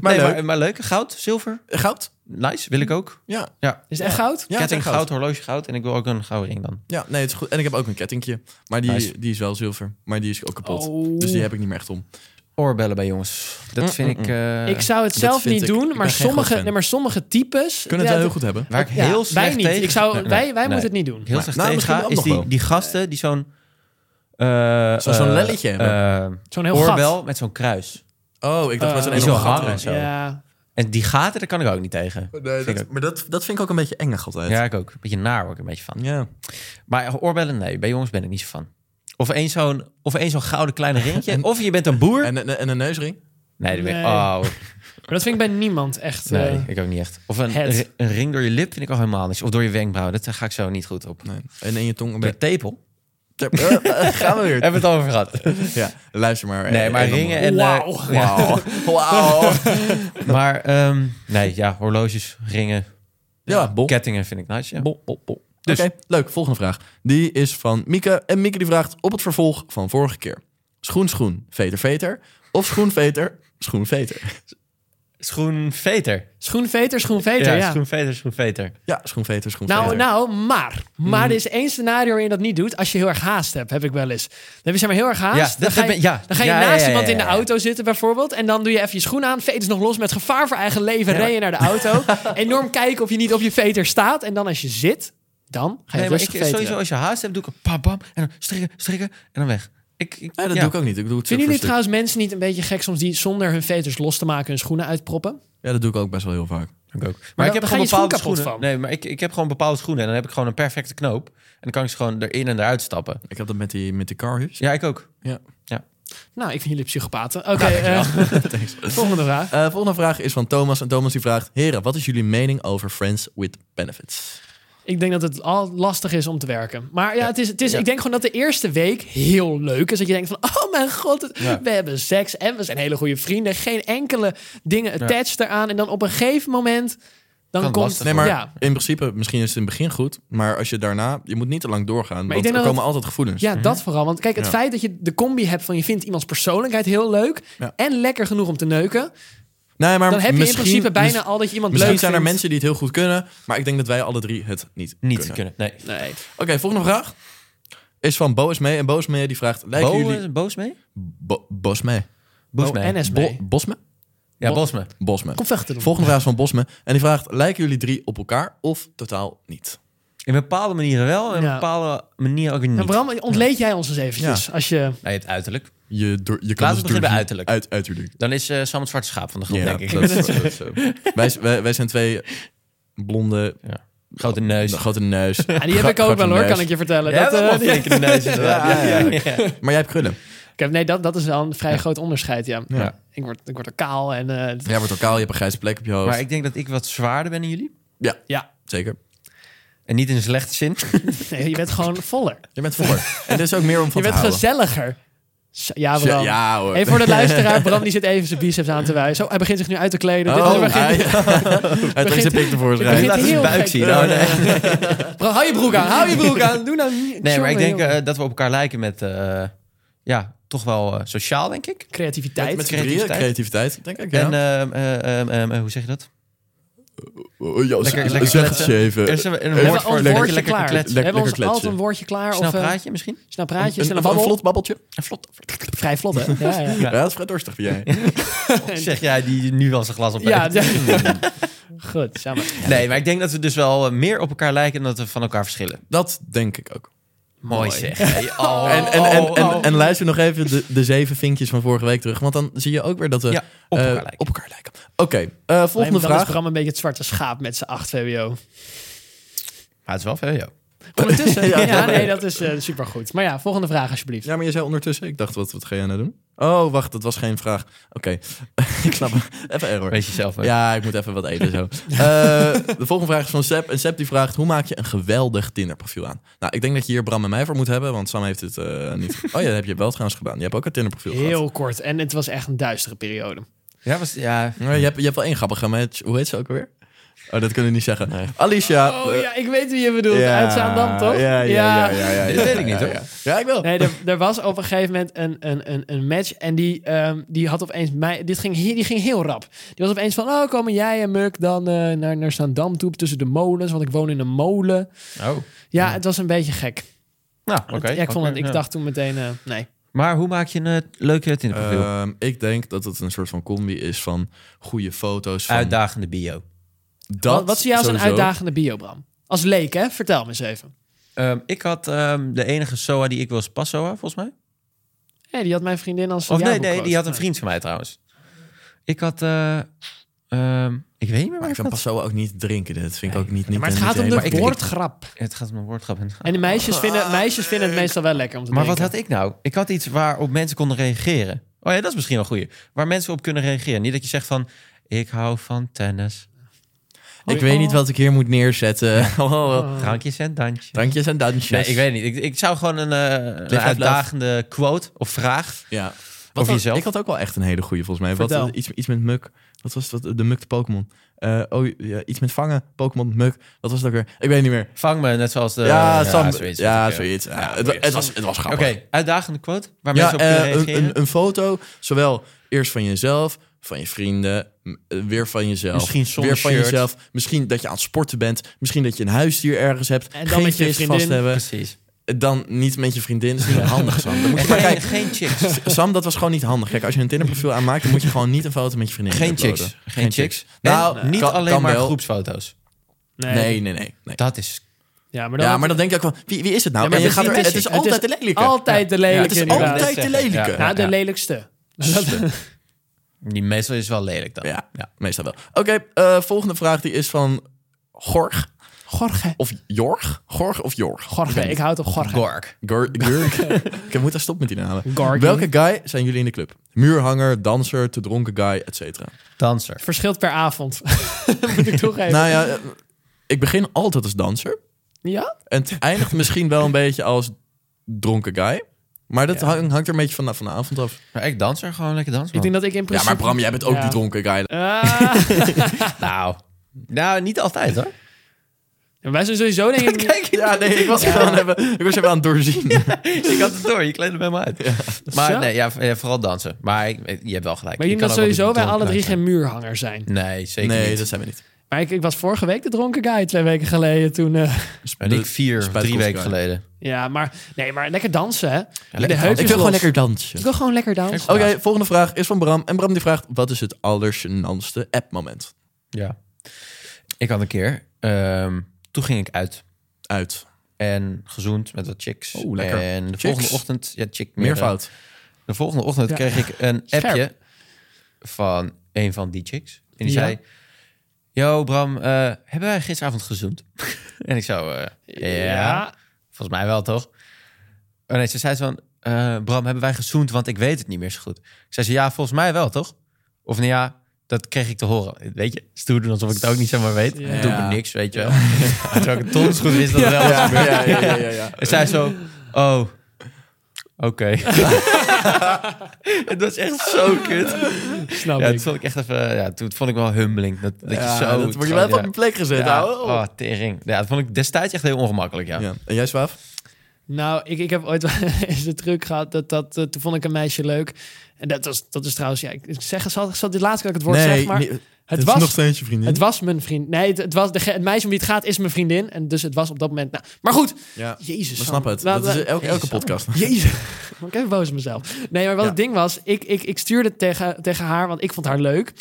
S2: maar
S1: Nee,
S2: leuk.
S1: maar, maar leuk. Goud, zilver,
S2: Goud?
S1: nice, wil ik ook.
S2: Ja.
S1: Ja,
S3: Is het echt goud?
S2: ja
S1: ketting
S2: goud.
S1: goud. horloge goud. En ik wil ook een gouden ring dan.
S2: Ja, nee, het is goed. En ik heb ook een kettingje. Maar die,
S1: Nice.
S2: die is wel zilver. Maar die is ook kapot.
S3: Oh.
S2: Dus die heb ik niet meer echt om.
S1: Oorbellen bij jongens. Dat vind ik... eh,
S3: ik zou het zelf
S2: vind
S3: niet
S2: ik- ik
S3: doen,
S2: ben
S3: maar
S2: geen groot
S3: sommige,
S2: fan.
S3: nee, maar sommige types...
S2: Kunnen het wel
S3: ja,
S2: heel
S3: dat-
S2: goed hebben.
S1: Waar ik
S3: Ja,
S1: heel
S3: wij
S1: slecht
S3: niet.
S1: tegen...
S3: Ik zou,
S1: Nee,
S3: wij
S1: nee,
S3: wij moeten
S1: nee.
S3: het niet doen.
S1: Heel slecht
S2: Nou,
S1: tegen
S2: misschien
S1: ga,
S2: ook
S1: is
S2: nog
S1: die,
S2: wel.
S1: die gasten die zo'n... eh,
S2: Zo- zo'n
S1: eh,
S2: lelletje hebben.
S3: Zo'n
S1: eh,
S3: heel
S1: oorbel
S3: gat.
S1: met zo'n kruis.
S2: Oh, ik dacht
S3: Eh,
S2: met zo'n
S3: die
S1: is wel
S2: enorme gat
S1: harder.
S2: erin.
S1: zo.
S3: Ja.
S1: En die gaten, daar kan ik ook niet tegen.
S2: Nee,
S1: Vind ik
S2: dat, maar dat, dat vind ik ook een beetje eng altijd.
S1: Ja, ik ook. Een beetje naar word ik een beetje van.
S2: ja.
S1: Maar oorbellen, nee. Bij jongens ben ik niet zo van. Of één zo'n of één zo'n gouden kleine ringetje. Of je bent een boer.
S2: En, en, en een neusring?
S1: nee, dan ben ik,
S3: Nee.
S1: oh,
S3: Maar dat vind ik bij niemand echt... eh,
S1: nee, ik ook niet echt. Of een,
S3: het.
S1: een ring door je lip vind ik al helemaal niks. Of door je wenkbrauw. Dat ga ik zo niet goed op.
S2: Nee. En in je tong een
S1: Door
S2: beetje...
S1: je tepel.
S2: Eh, Gaan we weer.
S1: Hebben we het al over gehad?
S2: Ja, luister maar.
S1: Nee, maar ringen en... eh,
S3: Wauw.
S1: ja.
S2: Wauw. Wauw.
S1: Maar ehm, nee, ja, horloges, ringen,
S2: Ja, bol.
S1: kettingen vind ik nice. Ja.
S2: Bol, bol, bol.
S1: Dus-
S2: Oké, leuk. Volgende vraag. Die is van Mieke. En Mieke die vraagt op het vervolg van vorige keer. Schoen, schoen, veter, veter. Of schoen, veter, schoen, veter.
S1: Schoenveter.
S3: Schoenveter, schoenveter, ja.
S1: schoenveter, schoenveter.
S2: Ja, schoen, veter, schoen,
S3: Nou,
S2: veter.
S3: nou, maar. Maar
S1: Mhm.
S3: er is één scenario waarin je dat niet doet. Als je heel erg haast hebt, heb ik wel eens. Dan heb je zeg maar heel erg haast.
S1: Ja,
S3: dan
S1: dat
S3: ga je,
S1: ben- ja.
S3: dan ga je
S1: Ja,
S3: naast
S1: ja, ja,
S3: iemand in de
S1: ja, ja.
S3: auto zitten bijvoorbeeld. En dan doe je even je schoen aan. Veters nog los met gevaar voor eigen leven. Ren je naar de auto. Enorm kijken of je niet op je veter staat. En dan als je zit, dan ga je
S1: Nee, maar ik,
S3: rustig veteren.
S1: sowieso als je haast hebt, doe ik een pam, pam. En dan strikken, strikken en dan weg. Ik, ik,
S2: Nee, dat
S1: ja.
S2: doe ik ook niet. Ik doe het stuk
S3: Vinden jullie
S2: voor stuk.
S3: trouwens mensen niet een beetje gek soms die zonder hun veters los te maken hun schoenen uitproppen?
S2: Ja, dat doe ik ook best wel heel vaak.
S1: Ik ook. Maar,
S3: dan-
S1: ik heb
S3: dan
S1: gewoon
S3: ga je
S1: bepaalde
S3: schoen kapot
S1: schoenen.
S3: van.
S1: Nee, maar ik, ik heb gewoon bepaalde schoenen. En dan heb ik gewoon een perfecte knoop. En dan kan ik ze gewoon erin en eruit stappen.
S2: Ik heb dat met die, met die dus. carhus.
S1: Ja, ik ook.
S2: Ja.
S3: Nou, ik vind jullie psychopaten. Oké, eh, volgende vraag.
S2: Eh, volgende vraag is van Thomas. En Thomas die vraagt... Heren, wat is jullie mening over Friends with Benefits?
S3: Ik denk dat het al lastig is om te werken. Maar ja, het is, het is, ik denk gewoon dat de eerste week heel leuk is. Dat je denkt van, oh mijn god, het- we hebben seks en we zijn hele goede vrienden. Geen enkele dingen attached eraan. En dan op een gegeven moment, dan
S1: het
S3: komt...
S1: lastig
S2: Nee, maar
S3: Ja,
S2: in principe, misschien is het in het begin goed. Maar als je daarna... Je moet niet te lang doorgaan.
S3: Maar ik
S2: want er
S3: denk dat
S2: komen altijd gevoelens.
S3: ja dat vooral. Want kijk, het
S2: Mhm. Ja.
S3: feit dat je de combi hebt van je vindt iemands persoonlijkheid heel leuk...
S2: Ja.
S3: en lekker genoeg om te neuken...
S2: Nee, maar
S3: dan heb je in
S2: misschien-
S3: principe bijna
S2: mis-
S3: al dat je iemand
S2: Misschien
S3: leuk
S2: zijn er
S3: vindt.
S2: mensen die het heel goed kunnen. Maar ik denk dat wij alle drie het niet,
S1: Niet
S2: kunnen.
S1: kunnen. Nee.
S3: Nee.
S2: Oké, volgende vraag. Is van Boos mee. En Boos mee die vraagt... Lijken
S1: Bo,
S2: jullie...
S1: eh, Boos mee?
S2: Bo, Boos mee.
S1: Boos
S3: Oh,
S1: mee.
S3: en
S2: Bo,
S3: Esmee.
S2: Bosme?
S1: Ja, Boos mee.
S2: Bosme.
S3: Kom vechten doen.
S2: Volgende vraag is van Bosme. En die vraagt... Lijken jullie drie op elkaar of totaal niet?
S1: In bepaalde manieren wel. en In
S3: Ja.
S1: bepaalde manieren ook weer
S3: En
S1: niet.
S3: Bram, ontleed jij ons eens eventjes? Als je...
S1: Nee, het uiterlijk.
S2: Je, door,
S1: Laten
S2: je
S1: we
S2: dus
S1: beginnen bij
S2: door-
S1: uiterlijk.
S2: Uit, uiterlijk.
S1: Dan is eh, Sam het zwarte schaap van de groep,
S2: Ja,
S1: denk ik.
S2: dat is- dat is zo. wij, z- wij, wij zijn twee blonde,
S1: Grote neus.
S2: een grote neus.
S3: Ja, die heb ik ook wel hoor, kan ik je vertellen.
S1: Jij
S3: Dat,
S1: hebt
S3: eh,
S1: ook wel een flinke neus. inderdaad.
S2: Ja, ja, Maar jij hebt krullen.
S3: Ik heb, nee, dat, dat is wel een vrij groot onderscheid, ja.
S1: Ja.
S3: Ik, word, ik word er kaal en... eh, het-
S2: Jij wordt ook kaal, je hebt een grijze plek op je hoofd.
S1: Maar ik denk dat ik wat zwaarder ben dan jullie.
S2: Ja,
S3: ja,
S2: zeker.
S1: En niet in een slechte zin.
S3: nee, je bent gewoon voller.
S2: Je bent voor. en dit is ook meer om
S3: Je
S2: van
S3: bent
S2: te houden.
S3: gezelliger. Zo- Ja,
S2: Ja,
S3: Bram.
S2: ja hoor.
S3: Even voor de luisteraar, Bram die zit even zijn biceps aan te wijzen. Zo, hij begint zich nu uit te kleden. Dit is-
S2: Oh,
S3: hij begint-
S2: hij, hij trekt zijn pik ervoor.
S3: begint
S1: Laat
S3: heel
S1: zijn buik
S3: gek.
S1: zien. Oh, nee.
S3: Bram, hou je broek aan, hou je broek aan. Doe nou niet.
S1: Nee, maar ik
S3: Jongen,
S1: denk
S3: jongen.
S1: eh, dat we op elkaar lijken met... eh, ja, toch wel eh, sociaal, denk ik.
S3: Creativiteit.
S2: Met z'n drieën,
S1: creativiteit.
S2: creativiteit. Denk ik, ja.
S1: En ehm, eh, ehm, ehm, eh, hoe zeg je dat?
S2: Oh, ja,
S1: lekker-
S2: zeg-
S1: lekker
S2: zeg
S1: kletsen.
S2: het je even.
S1: Er is een, een
S3: We
S2: Even
S1: woord
S3: hebben al
S1: voor
S3: een
S1: lekker,
S3: woordje
S1: lekker
S3: klaar.
S1: kletsen.
S3: we hebben ons
S2: lekker
S3: altijd een
S2: kletsen.
S3: woordje klaar.
S1: Snel
S3: of eh,
S1: praatje misschien?
S3: snel
S2: Een,
S3: praatjes.
S2: een,
S3: en
S2: een
S3: een babbel.
S2: vlot babbeltje.
S1: Een vlot.
S3: Vrij vlot, hè? Ja, ja.
S2: Ja, dat is vrij dorstig voor jij.
S1: Zeg jij die nu wel zijn glas op
S3: ja,
S1: heeft.
S3: ja. Goed, samen.
S1: Nee, maar ik denk dat we dus wel eh, meer op elkaar lijken dan dat we van elkaar verschillen.
S2: Dat denk ik ook.
S1: Mooi zeg. Hey, oh,
S2: En, en, en,
S1: oh,
S2: en,
S1: oh.
S2: en luister nog even de, de zeven vinkjes van vorige week terug. Want dan zie je ook weer dat we
S1: Ja, op elkaar
S2: eh,
S1: lijken.
S2: op elkaar lijken. Oké, eh, volgende
S3: Dan is
S2: vraag.
S3: Bram een beetje het zwarte schaap met zijn 8 VWO.
S1: Maar het is wel veel, joh.
S3: Ondertussen, ja,
S2: Ja, ja.
S3: nee, dat is eh, supergoed. Maar ja, volgende vraag alsjeblieft.
S2: Ja, maar je zei ondertussen. Ik dacht, wat, wat ga jij nou doen? Oh, wacht, dat was geen vraag. Oké, ik snap het. Even error.
S1: Weet je zelf. hè?
S2: Ja, ik moet even wat eten zo. Eh, de volgende vraag is van Seb. En Seb die vraagt, hoe maak je een geweldig Tinderprofiel aan? Nou, ik denk dat je hier Bram en mij voor moet hebben, want Sam heeft het eh, niet... Oh ja, dat heb je wel trouwens gedaan. Je hebt ook een Tinderprofiel gehad.
S3: Heel kort. En het was echt een duistere periode.
S1: Ja, was, ja.
S2: Ja, Je hebt, je hebt wel één grappige match. Hoe heet ze ook alweer? Oh, dat kunnen we niet zeggen. Alicia.
S3: Oh
S2: eh,
S3: ja, ik weet wie je bedoelt.
S2: ja.
S3: Uit Zaandam, toch?
S2: Ja, ja, ja. ja, ja, ja,
S1: Dit
S2: ja,
S1: weet ik niet,
S2: ja,
S1: hoor.
S2: Ja, Ja, ik wel.
S3: Nee, er, er was op een gegeven moment een, een, een, een match. En die, ehm, die had opeens mij. Dit ging, he- die ging heel rap. Die was opeens van: Oh, komen jij en Muk dan eh, naar, naar Zaandam toe tussen de molens? Want ik woon in een molen.
S1: Oh.
S3: Ja, het was een beetje gek.
S1: Nou, oké.
S3: ja, ik, vond
S1: Oké,
S3: het, ik
S1: ja.
S3: dacht toen meteen: eh, Nee.
S1: Maar hoe maak je een eh, leuke Tinderprofiel?
S2: Ehm, ik denk dat het een soort van combi is van goede foto's. Van
S1: Uitdagende bio.
S2: dat
S3: wat, wat zie jij als een
S2: sowieso.
S3: uitdagende bio, Bram? Als leek, hè? Vertel me eens even.
S1: Ehm, ik had ehm, de enige SOA die ik was, pas SOA, volgens mij.
S3: Hey, die had mijn vriendin als.
S1: Of nee,
S3: jaarboekquote.
S1: nee, die had een vriend van mij trouwens. Ik had, eh, ehm, ik weet niet meer waar
S2: Maar ik
S1: ik
S2: kan
S1: had.
S2: pas zo ook niet drinken. Dat vind ik ook niet. niet
S3: Maar het
S2: en
S3: gaat
S2: niet
S3: om
S2: helemaal.
S3: de
S1: ik- ik-
S3: woordgrap.
S1: Het gaat om een woordgrap. En
S3: En de meisjes vinden, meisjes vinden het meestal wel lekker om te
S1: Maar wat
S3: drinken.
S1: had ik nou? Ik had iets waarop mensen konden reageren. Oh ja, dat is misschien wel een goeie. Waar mensen op kunnen reageren. Niet dat je zegt van, ik hou van tennis.
S2: Ik weet
S3: Oh.
S2: niet wat ik hier moet neerzetten. Oh.
S1: Drankjes en dansjes.
S2: Drankjes en dansjes.
S1: Nee, ik weet niet. Ik, ik zou gewoon een, eh, een
S2: love.
S1: uitdagende quote of vraag.
S2: Ja.
S1: Over
S2: had-
S1: jezelf?
S2: Ik had ook wel echt een hele goede volgens mij. Wat,
S3: Vertel.
S2: eh, iets, iets met muk. Wat was dat? De mukte Pokémon. Eh, oh, ja, iets met vangen. Pokémon, muk. Wat was dat ook weer? Ik weet niet meer.
S1: Vang me, net zoals de...
S2: ja, Sam.
S1: Eh, zoiets.
S2: Ja,
S1: Oké.
S2: zoiets. Ja,
S1: Ja,
S2: het, wa-
S1: boeien.
S2: het was, het was
S1: Oké,
S2: grappig.
S1: uitdagende quote waar
S2: Ja,
S1: mensen op kunnen
S2: eh, een,
S1: reageren.
S2: een, een foto, zowel eerst van jezelf, van je vrienden, m- eh, weer van jezelf.
S1: Misschien zonder
S2: Weer van
S1: shirt.
S2: jezelf. Misschien dat je aan het sporten bent. Misschien dat je een huisdier ergens hebt.
S3: En dan
S2: geen
S3: met je
S2: vis
S3: vriendin.
S2: vast hebben.
S1: Precies.
S2: Dan niet met je vriendin. Dat is niet handig, Sam. Dan moet
S1: En
S2: je maar
S1: geen,
S2: kijk,
S1: geen chicks.
S2: Sam, dat was gewoon niet handig. Kijk, als je een Tinder-profiel aanmaakt, dan moet je gewoon niet een foto met je vriendin
S1: Geen
S2: uploaden.
S1: chicks. Geen, chicks.
S2: Nou,
S1: Nou, niet
S2: kan-
S1: alleen
S2: kan
S1: maar
S2: wel.
S1: groepsfoto's.
S2: Nee, nee, nee. nee.
S1: Dat is...
S3: Ja, maar dan
S2: Ja,
S3: had-
S2: maar dan denk ik ook wel, wie, wie is het nou?
S3: Ja, maar
S2: En je
S3: precies,
S2: gaat er,
S3: het
S2: het
S3: is-
S2: is altijd de lelijke.
S3: Altijd de
S1: Ja,
S3: lelijke.
S2: Het is
S3: inderdaad.
S2: altijd
S1: Ja.
S2: de lelijke.
S1: Ja.
S3: Nou, de lelijkste.
S1: Die meestal is wel lelijk dan.
S2: Ja, meestal wel. Oké, eh, volgende vraag die is van Gorg
S3: Gorge.
S2: of Jorg? Gorg of Jorg?
S3: Gorge. Ik houd op Gorge.
S1: Gork.
S2: Gor- Gurk. Ik moet daar stop met die namen.
S3: Gorging.
S2: Welke guy zijn jullie in de club? Muurhanger, danser, te dronken guy, et cetera.
S1: Danser.
S3: Verschilt per avond. Moet ik toegeven.
S2: Nou ja, eh, ik begin altijd als danser.
S3: ja?
S2: En het eindigt misschien wel een beetje als dronken guy. Maar dat hang- hangt er een beetje van, van de avond af.
S1: Maar ik danser gewoon lekker dansen. man.
S3: Ik denk dat ik in
S2: Ja,
S3: principe...
S2: maar Bram, jij bent ook
S3: Ja.
S2: die dronken guy.
S3: Ah,
S1: Nou, nou, niet altijd hoor.
S3: wij zijn sowieso denk ik...
S1: Kijk,
S2: Ja, nee, ik was gewoon even, ik was even aan het doorzien.
S1: ik had het door. Je kleedde hem helemaal uit.
S3: Zo.
S1: Maar nee, ja, v- ja, vooral dansen. Maar ik- ik- je hebt wel gelijk.
S3: Maar je
S1: Je
S3: moet
S1: kan ook wel
S3: sowieso
S1: die
S3: wij alle
S1: dronken
S3: drie
S1: zijn.
S3: geen muurhanger zijn.
S1: Nee, zeker
S2: Nee,
S1: niet.
S2: dat zijn we niet.
S3: Maar ik, ik was vorige week de dronken guy twee weken geleden toen... eh,
S1: En ik vier, of
S2: Spuit
S1: drie
S2: kost
S1: weken
S2: guy.
S1: geleden.
S3: ja, maar... Nee, maar lekker dansen, hè. de
S1: dansen.
S3: heupjes
S2: Ik wil gewoon
S3: los.
S2: lekker
S3: Ik
S2: dansen.
S3: wil gewoon lekker dansen.
S2: Oké, volgende vraag is van Bram. En Bram die vraagt, wat is het allergenantste app-moment?
S1: Ja. Ik had een keer. ehm, toen ging ik uit
S2: Uit.
S1: en gezoend met wat chicks.
S2: Oh, lekker.
S1: En de
S2: Chicks.
S1: volgende ochtend, ja, chick meervoud.
S2: Meervoud.
S1: De volgende ochtend
S3: Ja.
S1: kreeg ik een
S3: Scherp.
S1: appje van een van die chicks. En die
S3: Ja.
S1: zei: Yo, Bram, eh, hebben wij gisteravond gezoend? en ik zo, eh, ja. Volgens mij wel, toch? Oh nee, ze zei van... eh, Bram, hebben wij gezoend? Want ik weet het niet meer zo goed. Ik zei ze, ja, volgens mij wel, toch? Of nou ja, dat kreeg ik te horen. Weet je, stoer doen alsof ik het ook niet zomaar weet.
S3: Ja.
S1: Doe me niks, weet je wel. Terwijl ik het tons goed wist dat het wel was
S2: Ja,
S1: gebeurd.
S2: ja, ja, ja, ja, ja.
S1: En zij zo, oh, oké. het was echt zo kut.
S2: Oh,
S3: Snap
S1: Ja,
S3: ik.
S1: toen vond ik echt even... Ja, toen vond ik wel humbling. Dat, dat
S2: Ja,
S1: je zo...
S2: dat word je wel even
S1: ja.
S2: op je plek gezet,
S1: Ja,
S2: ouwe.
S1: oh, tering. Ja, dat vond ik destijds echt heel ongemakkelijk, ja.
S2: Ja. En jij, Swaaf?
S3: Nou, ik, ik heb ooit wel eens de truc gehad dat, dat eh, toen vond ik een meisje leuk. En dat, was, dat is trouwens, ja, ik ik zeg, zal, zal dit laatste keer dat ik het woord zeg, maar
S2: nee,
S3: het,
S2: is
S3: was,
S2: nog steeds je vriendin.
S3: het was mijn vriend. Nee, het, het was de, ge- het meisje om wie het gaat is mijn vriendin. En dus het was op dat moment, nou, maar goed.
S2: Ja,
S3: Jezus.
S2: we
S3: Sam.
S2: snappen het.
S3: Laat-
S2: Dat is
S3: laat-
S2: elke, elke podcast.
S3: Jezus. Word ik even boos op mezelf. Nee, maar wat
S2: Ja.
S3: het ding was, ik, ik, ik stuurde het tegen, tegen haar, want ik vond haar leuk.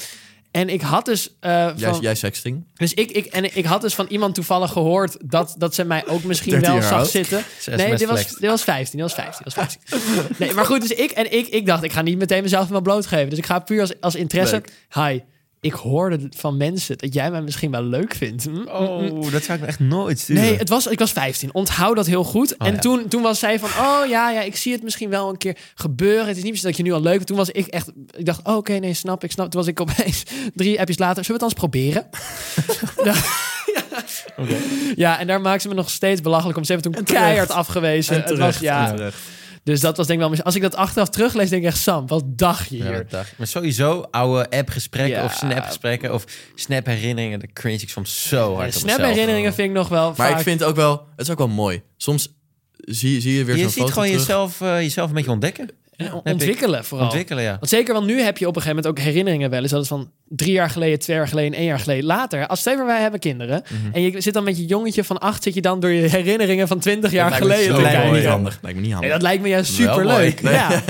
S3: En ik had dus... eh,
S2: Jij,
S3: van,
S2: jij sexting?
S3: Dus ik, ik, en ik had dus van iemand toevallig gehoord dat, dat ze mij ook misschien
S2: 13
S3: wel
S2: jaar
S3: zag
S2: oud.
S3: zitten.
S1: Zes
S3: Nee,
S1: mes
S3: dit was,
S1: flexed.
S3: dit was 15. Dit was 15. Dit was 15. Nee, maar goed, dus ik en ik, ik dacht, ik ga niet meteen mezelf helemaal blootgeven. Dus ik ga puur als, als interesse. Hi, ik hoorde van mensen dat jij mij misschien wel leuk vindt. Hm?
S1: Oh, dat zou ik me echt nooit sturen.
S3: Nee, het was, ik was 15. Onthoud dat heel goed.
S1: Oh,
S3: en
S1: ja.
S3: toen, toen was zij van, oh ja, ja, ik zie het misschien wel een keer gebeuren. Het is niet precies dat je nu al leuk bent. Toen was ik echt, ik dacht, oh, oké, nee, snap ik, snap. Toen was ik opeens drie appjes later, zullen we het dan eens proberen? ja. ja, en daar maakte ze me nog steeds belachelijk om. Ze hebben toen
S2: terecht.
S3: keihard afgewezen.
S2: En
S3: Het was,
S2: terecht,
S3: ja,
S2: en terecht.
S3: Dus dat was denk ik wel... Als ik dat achteraf teruglees, denk ik echt, Sam, wat dacht je
S1: Ja,
S3: hier?
S1: wat dacht ik. Maar sowieso oude app-gesprekken
S3: Ja.
S1: of snap-gesprekken of snap-herinneringen. Daar cringe ik soms zo hard op
S3: Snap herinneringen vind ik nog wel
S2: eh, Maar
S3: vaak...
S2: ik vind ook wel, het is ook wel mooi. Soms zie, zie je weer
S1: je.
S2: zo'n
S1: Je ziet
S2: foto
S1: gewoon
S2: terug.
S1: jezelf, eh, jezelf een beetje ontdekken.
S3: En
S1: heb ik.
S3: eh, ontwikkelen vooral.
S1: Ontwikkelen, ja.
S3: Want zeker, want nu heb je op een gegeven moment ook herinneringen wel eens. Dat is van drie jaar geleden, twee jaar geleden, één jaar geleden. Later, als stel maar wij hebben kinderen.
S2: Mhm.
S3: En je zit dan met je jongetje van acht, zit je dan door je herinneringen van twintig jaar
S2: Lijkt me
S3: geleden
S2: zo
S3: te
S2: mooi.
S3: kijken.
S2: Niet handig. Lijkt me niet
S3: Nee,
S2: handig.
S3: dat lijkt me juist
S1: Wel
S3: superleuk.
S1: mooi.
S3: Ja.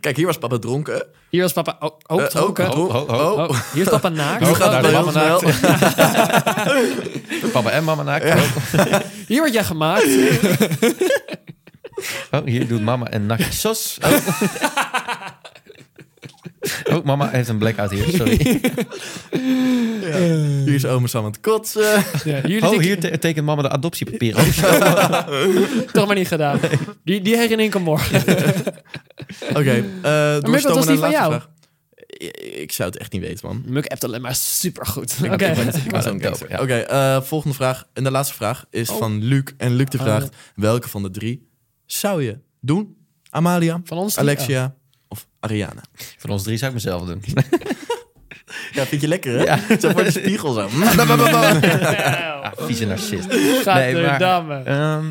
S2: Kijk, hier was papa dronken.
S3: Hier was papa ook ook
S2: Eh,
S3: dronken.
S2: ook, ook,
S1: Oh,
S2: ook.
S3: Oh, hier is papa naakt.
S2: Hoe gaat
S1: daar
S2: het bij
S1: de
S2: ons
S1: mama
S2: wel?
S1: Papa en mama naakt.
S3: Hier word jij gemaakt.
S1: Oh, hier doet mama een nakje sos. Oh. Oh, mama heeft een blackout hier, sorry.
S2: Hier is oma Sam aan het kotsen.
S3: Ja, hier
S1: Oh,
S3: heb
S1: hier te- tekent mama de adoptiepapieren. Oh, shit.
S3: ik toch maar niet gedaan. Die, die herinnering kan morgen.
S2: Oké, eh doe maar naar
S3: wat was die
S2: de
S3: van
S2: laatste
S3: jou?
S2: vraag. Ik, ik zou het echt niet weten, man.
S3: Muk appt alleen maar supergoed. Oké.
S1: Ik ben- ik ben
S2: Oké,
S1: zo'n doper, ja.
S2: Oké, eh, volgende vraag. En de laatste vraag is van Luc. En Luc die
S3: Oh,
S2: vraagt, welke van de drie zou je doen? Amalia,
S3: Van ons drie?
S2: Alexia of Ariana?
S1: Van ons drie zou ik mezelf doen.
S2: Ja, vind je lekker, hè? Zo voor de spiegel zo.
S3: Nou, Ja.
S1: Ah, vieze narcist.
S3: Gadverdamme.
S1: ehm,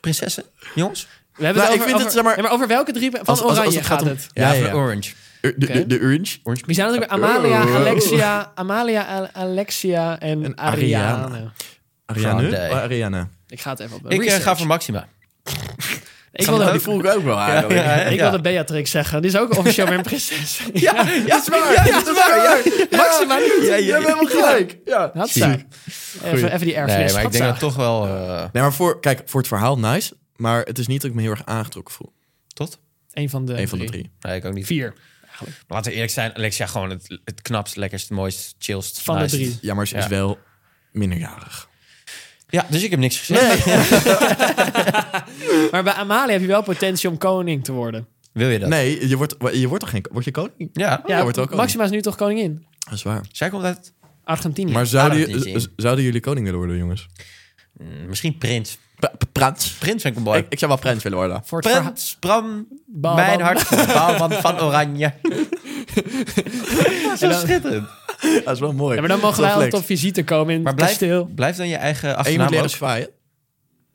S1: prinsessen, jongens?
S3: We hebben
S2: Nou,
S3: het
S2: ik
S3: over,
S2: vind het,
S3: over,
S2: zeg maar-
S3: ja, over welke drie van
S2: Als- als- als
S3: Oranje
S2: het gaat
S3: gaat,
S2: om-
S3: het?
S2: Ja,
S1: Ja, eh,
S2: ja,
S1: van Orange.
S2: De, de, de orange.
S1: Orange
S3: Wie zijn natuurlijk weer
S1: Oh,
S3: Amalia, Alexia, Amalia, Al- Alexia en,
S2: En
S3: Ariane.
S2: Ariane. Ariana?
S1: Grande.
S2: Oh, Ariana.
S3: Ik ga het even op.
S1: Ik eh,
S3: research.
S1: ga voor Maxima.
S3: ik wilde,
S2: die voel ik ook wel eigenlijk.
S1: Ja, ja.
S3: ik wilde Beatrix zeggen. Die is ook officieel weer een prinses.
S1: Ja, ja, is waar. Ja, is waar.
S2: Maxima niet.
S1: Ja, ja, ja.
S2: Je hebt helemaal gelijk. Ja.
S3: Hatsa.
S2: Goeie.
S3: Even, even die erfenis.
S1: Nee, maar ik denk dat
S3: Hatsa.
S1: toch wel... eh,
S2: Nee, maar voor, kijk, voor het verhaal nice. Maar het is niet dat ik me heel erg aangetrokken voel.
S1: Tot?
S3: Eén van de,
S2: Eén van de drie.
S1: Nee, ik ook niet.
S3: Vier.
S1: Maar Laten we eerlijk zijn, Alexia gewoon het, het knapst, lekkerst, mooist, chillst.
S3: Van de
S1: nicest.
S3: drie.
S2: Ja, maar ze is
S1: Ja.
S2: wel minderjarig.
S1: Ja, dus ik heb niks gezegd.
S3: Maar bij Amalia heb je wel potentie om koning te worden.
S1: Wil je dat?
S2: Nee, je wordt, je wordt toch geen... Word je koning?
S1: Ja.
S3: Ja,
S2: wordt ook koning.
S3: Maxima is nu toch koningin?
S2: Dat is waar.
S1: Zij komt uit...
S3: Argentinië.
S2: Maar zouden,
S1: dat
S2: ju-
S1: niet zien.
S2: z- zouden jullie koning willen worden, jongens?
S1: mm, Misschien Prins.
S2: Prins.
S1: Prins vind ik een
S2: Ik,
S1: mooi.
S2: ik zou wel prins willen worden.
S3: voor het verha-
S1: Prins, Bram,
S3: Bam,
S1: mijn
S3: bam.
S1: hart, Bouwman van Oranje. Zo schitterend.
S2: Dat is wel mooi.
S3: Ja, maar dan mogen
S2: Dat
S3: wij
S2: is
S3: altijd
S2: flex.
S3: op visite komen in
S1: Maar
S3: het
S1: blijf,
S3: kasteel.
S1: blijf dan je eigen
S2: En je moet
S1: achternaam
S2: leren
S1: ook
S2: zwaaien.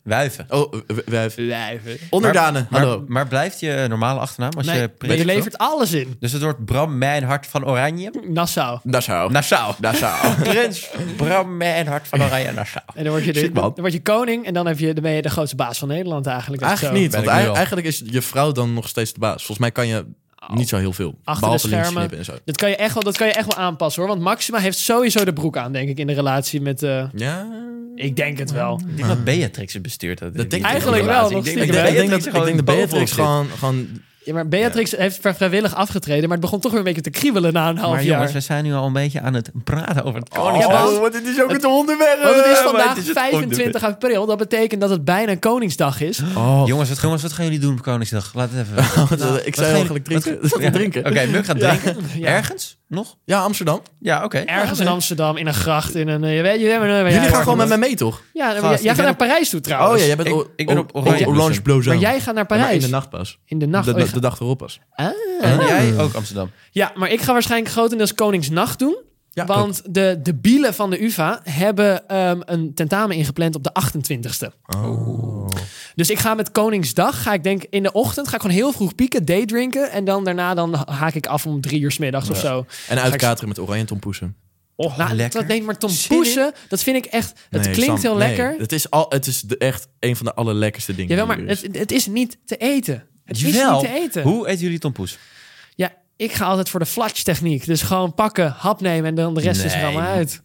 S1: wuiven.
S2: Oh, w- w- wij-
S3: Blijven.
S2: Onderdanen,
S1: Maar,
S2: hallo.
S1: maar, maar blijft je normale achternaam als
S3: Nee,
S1: je
S3: maar
S1: prins
S3: je
S1: wordt?
S3: levert alles in.
S1: Dus het wordt Bram Mijn Hart van Oranje.
S3: Nassau.
S2: Nassau.
S1: Nassau.
S2: Nassau.
S1: Prins Bram Mijn Hart van Oranje Nassau.
S3: En dan word je, de-
S2: Ziek, man.
S3: dan word je koning en dan, heb je, dan ben je de grootste baas van Nederland eigenlijk. als
S2: Eigenlijk
S3: zo-
S2: niet,
S1: Ben
S2: want
S1: ik nu
S2: ei-
S1: al.
S2: eigenlijk is je vrouw dan nog steeds de baas. Volgens mij kan je niet zo heel veel.
S3: Achter
S2: behalve
S3: de
S2: links
S3: schermen.
S2: knippen en zo.
S3: Dat kan, je echt wel, dat kan je echt wel aanpassen hoor. Want Maxima heeft sowieso de broek aan, denk ik, in de relatie met... eh,
S2: Ja,
S3: ik denk het wel.
S1: Ik
S2: Hm.
S1: denk dat Beatrix het bestuurt. Dat,
S2: denk ik
S3: Eigenlijk wel, nog
S1: Ik denk,
S3: stiekem,
S1: dat
S3: hè?
S2: ik denk
S1: Beatrix
S2: dat ik denk de Beatrix gewoon, gewoon...
S3: Ja, maar Beatrix heeft vri- vrijwillig afgetreden, maar het begon toch weer een beetje te kriebelen na een half
S1: Maar
S3: jaar.
S1: jongens, we zijn nu al een beetje aan het praten over het
S3: Ja,
S1: koningshuis.
S3: want-
S2: want het Oh, is ook het onderwerp.
S3: Want het is
S1: Eh, maar
S3: vandaag
S1: het is het
S3: 25 april, dat betekent dat het bijna Koningsdag is.
S2: Oh,
S1: Jongens, wat, jongens, wat gaan jullie doen op Koningsdag? Laat het even weten.
S3: Nou,
S2: wat- ik zei
S1: gaan
S2: eigenlijk
S1: jullie-
S2: drinken.
S1: wat gaan-
S2: Ja. drinken.
S1: Oké, Muk gaat drinken.
S3: Ja.
S1: Ergens? Nog?
S2: Ja, Amsterdam.
S1: Ja, oké.
S3: Ergens in Amsterdam, in een gracht, in een... eh, Je weet, je weet, maar-
S2: Jullie
S3: ja, dus
S2: gaan gewoon met mij mee, toch?
S3: Ja, maar
S1: Gast,
S3: jij-
S1: ik
S3: jij gaat
S1: ben
S3: naar
S1: op-
S3: Parijs toe trouwens.
S2: Oh ja, jij bent,
S1: Ik-
S2: o-
S1: ik ben
S2: o-
S1: op Oranje
S2: o- Orange
S1: Blossom.
S2: Blossom.
S3: Maar jij gaat
S2: Ja,
S3: naar
S2: maar
S3: Parijs.
S2: in de nacht pas.
S3: In de nacht.
S2: De,
S3: Oh, je
S2: de, de dag erop pas.
S1: En jij ook Amsterdam.
S3: Ja, maar ik ga waarschijnlijk grotendeels Koningsnacht doen.
S2: Ja,
S3: want de, de bielen van de UvA hebben ehm, een tentamen ingepland op de 28ste. Dus ik ga met Koningsdag, ga ik denk in de ochtend, ga ik gewoon heel vroeg pieken, daydrinken. En dan daarna dan haak ik af om drie uur 's middags of zo.
S2: En uitkateren met Oranje Tompoesen.
S3: Oh, nou,
S1: lekker.
S3: Dat neemt maar Tom
S1: Zin in.
S3: Poesen. Dat vind ik echt, het
S2: Nee,
S3: klinkt
S2: Sam,
S3: heel
S2: nee.
S3: lekker.
S2: Het is, al, het is de, echt een van de allerlekkerste dingen.
S3: Jawel, maar
S2: die er is.
S3: het, het is niet te eten. Het is
S1: Jawel.
S3: niet te eten.
S1: Hoe eten jullie tompoes?
S3: Ja, Ik ga altijd voor de flatsch techniek. Dus gewoon pakken, hap nemen en dan de rest is er
S1: Nee.
S3: allemaal uit.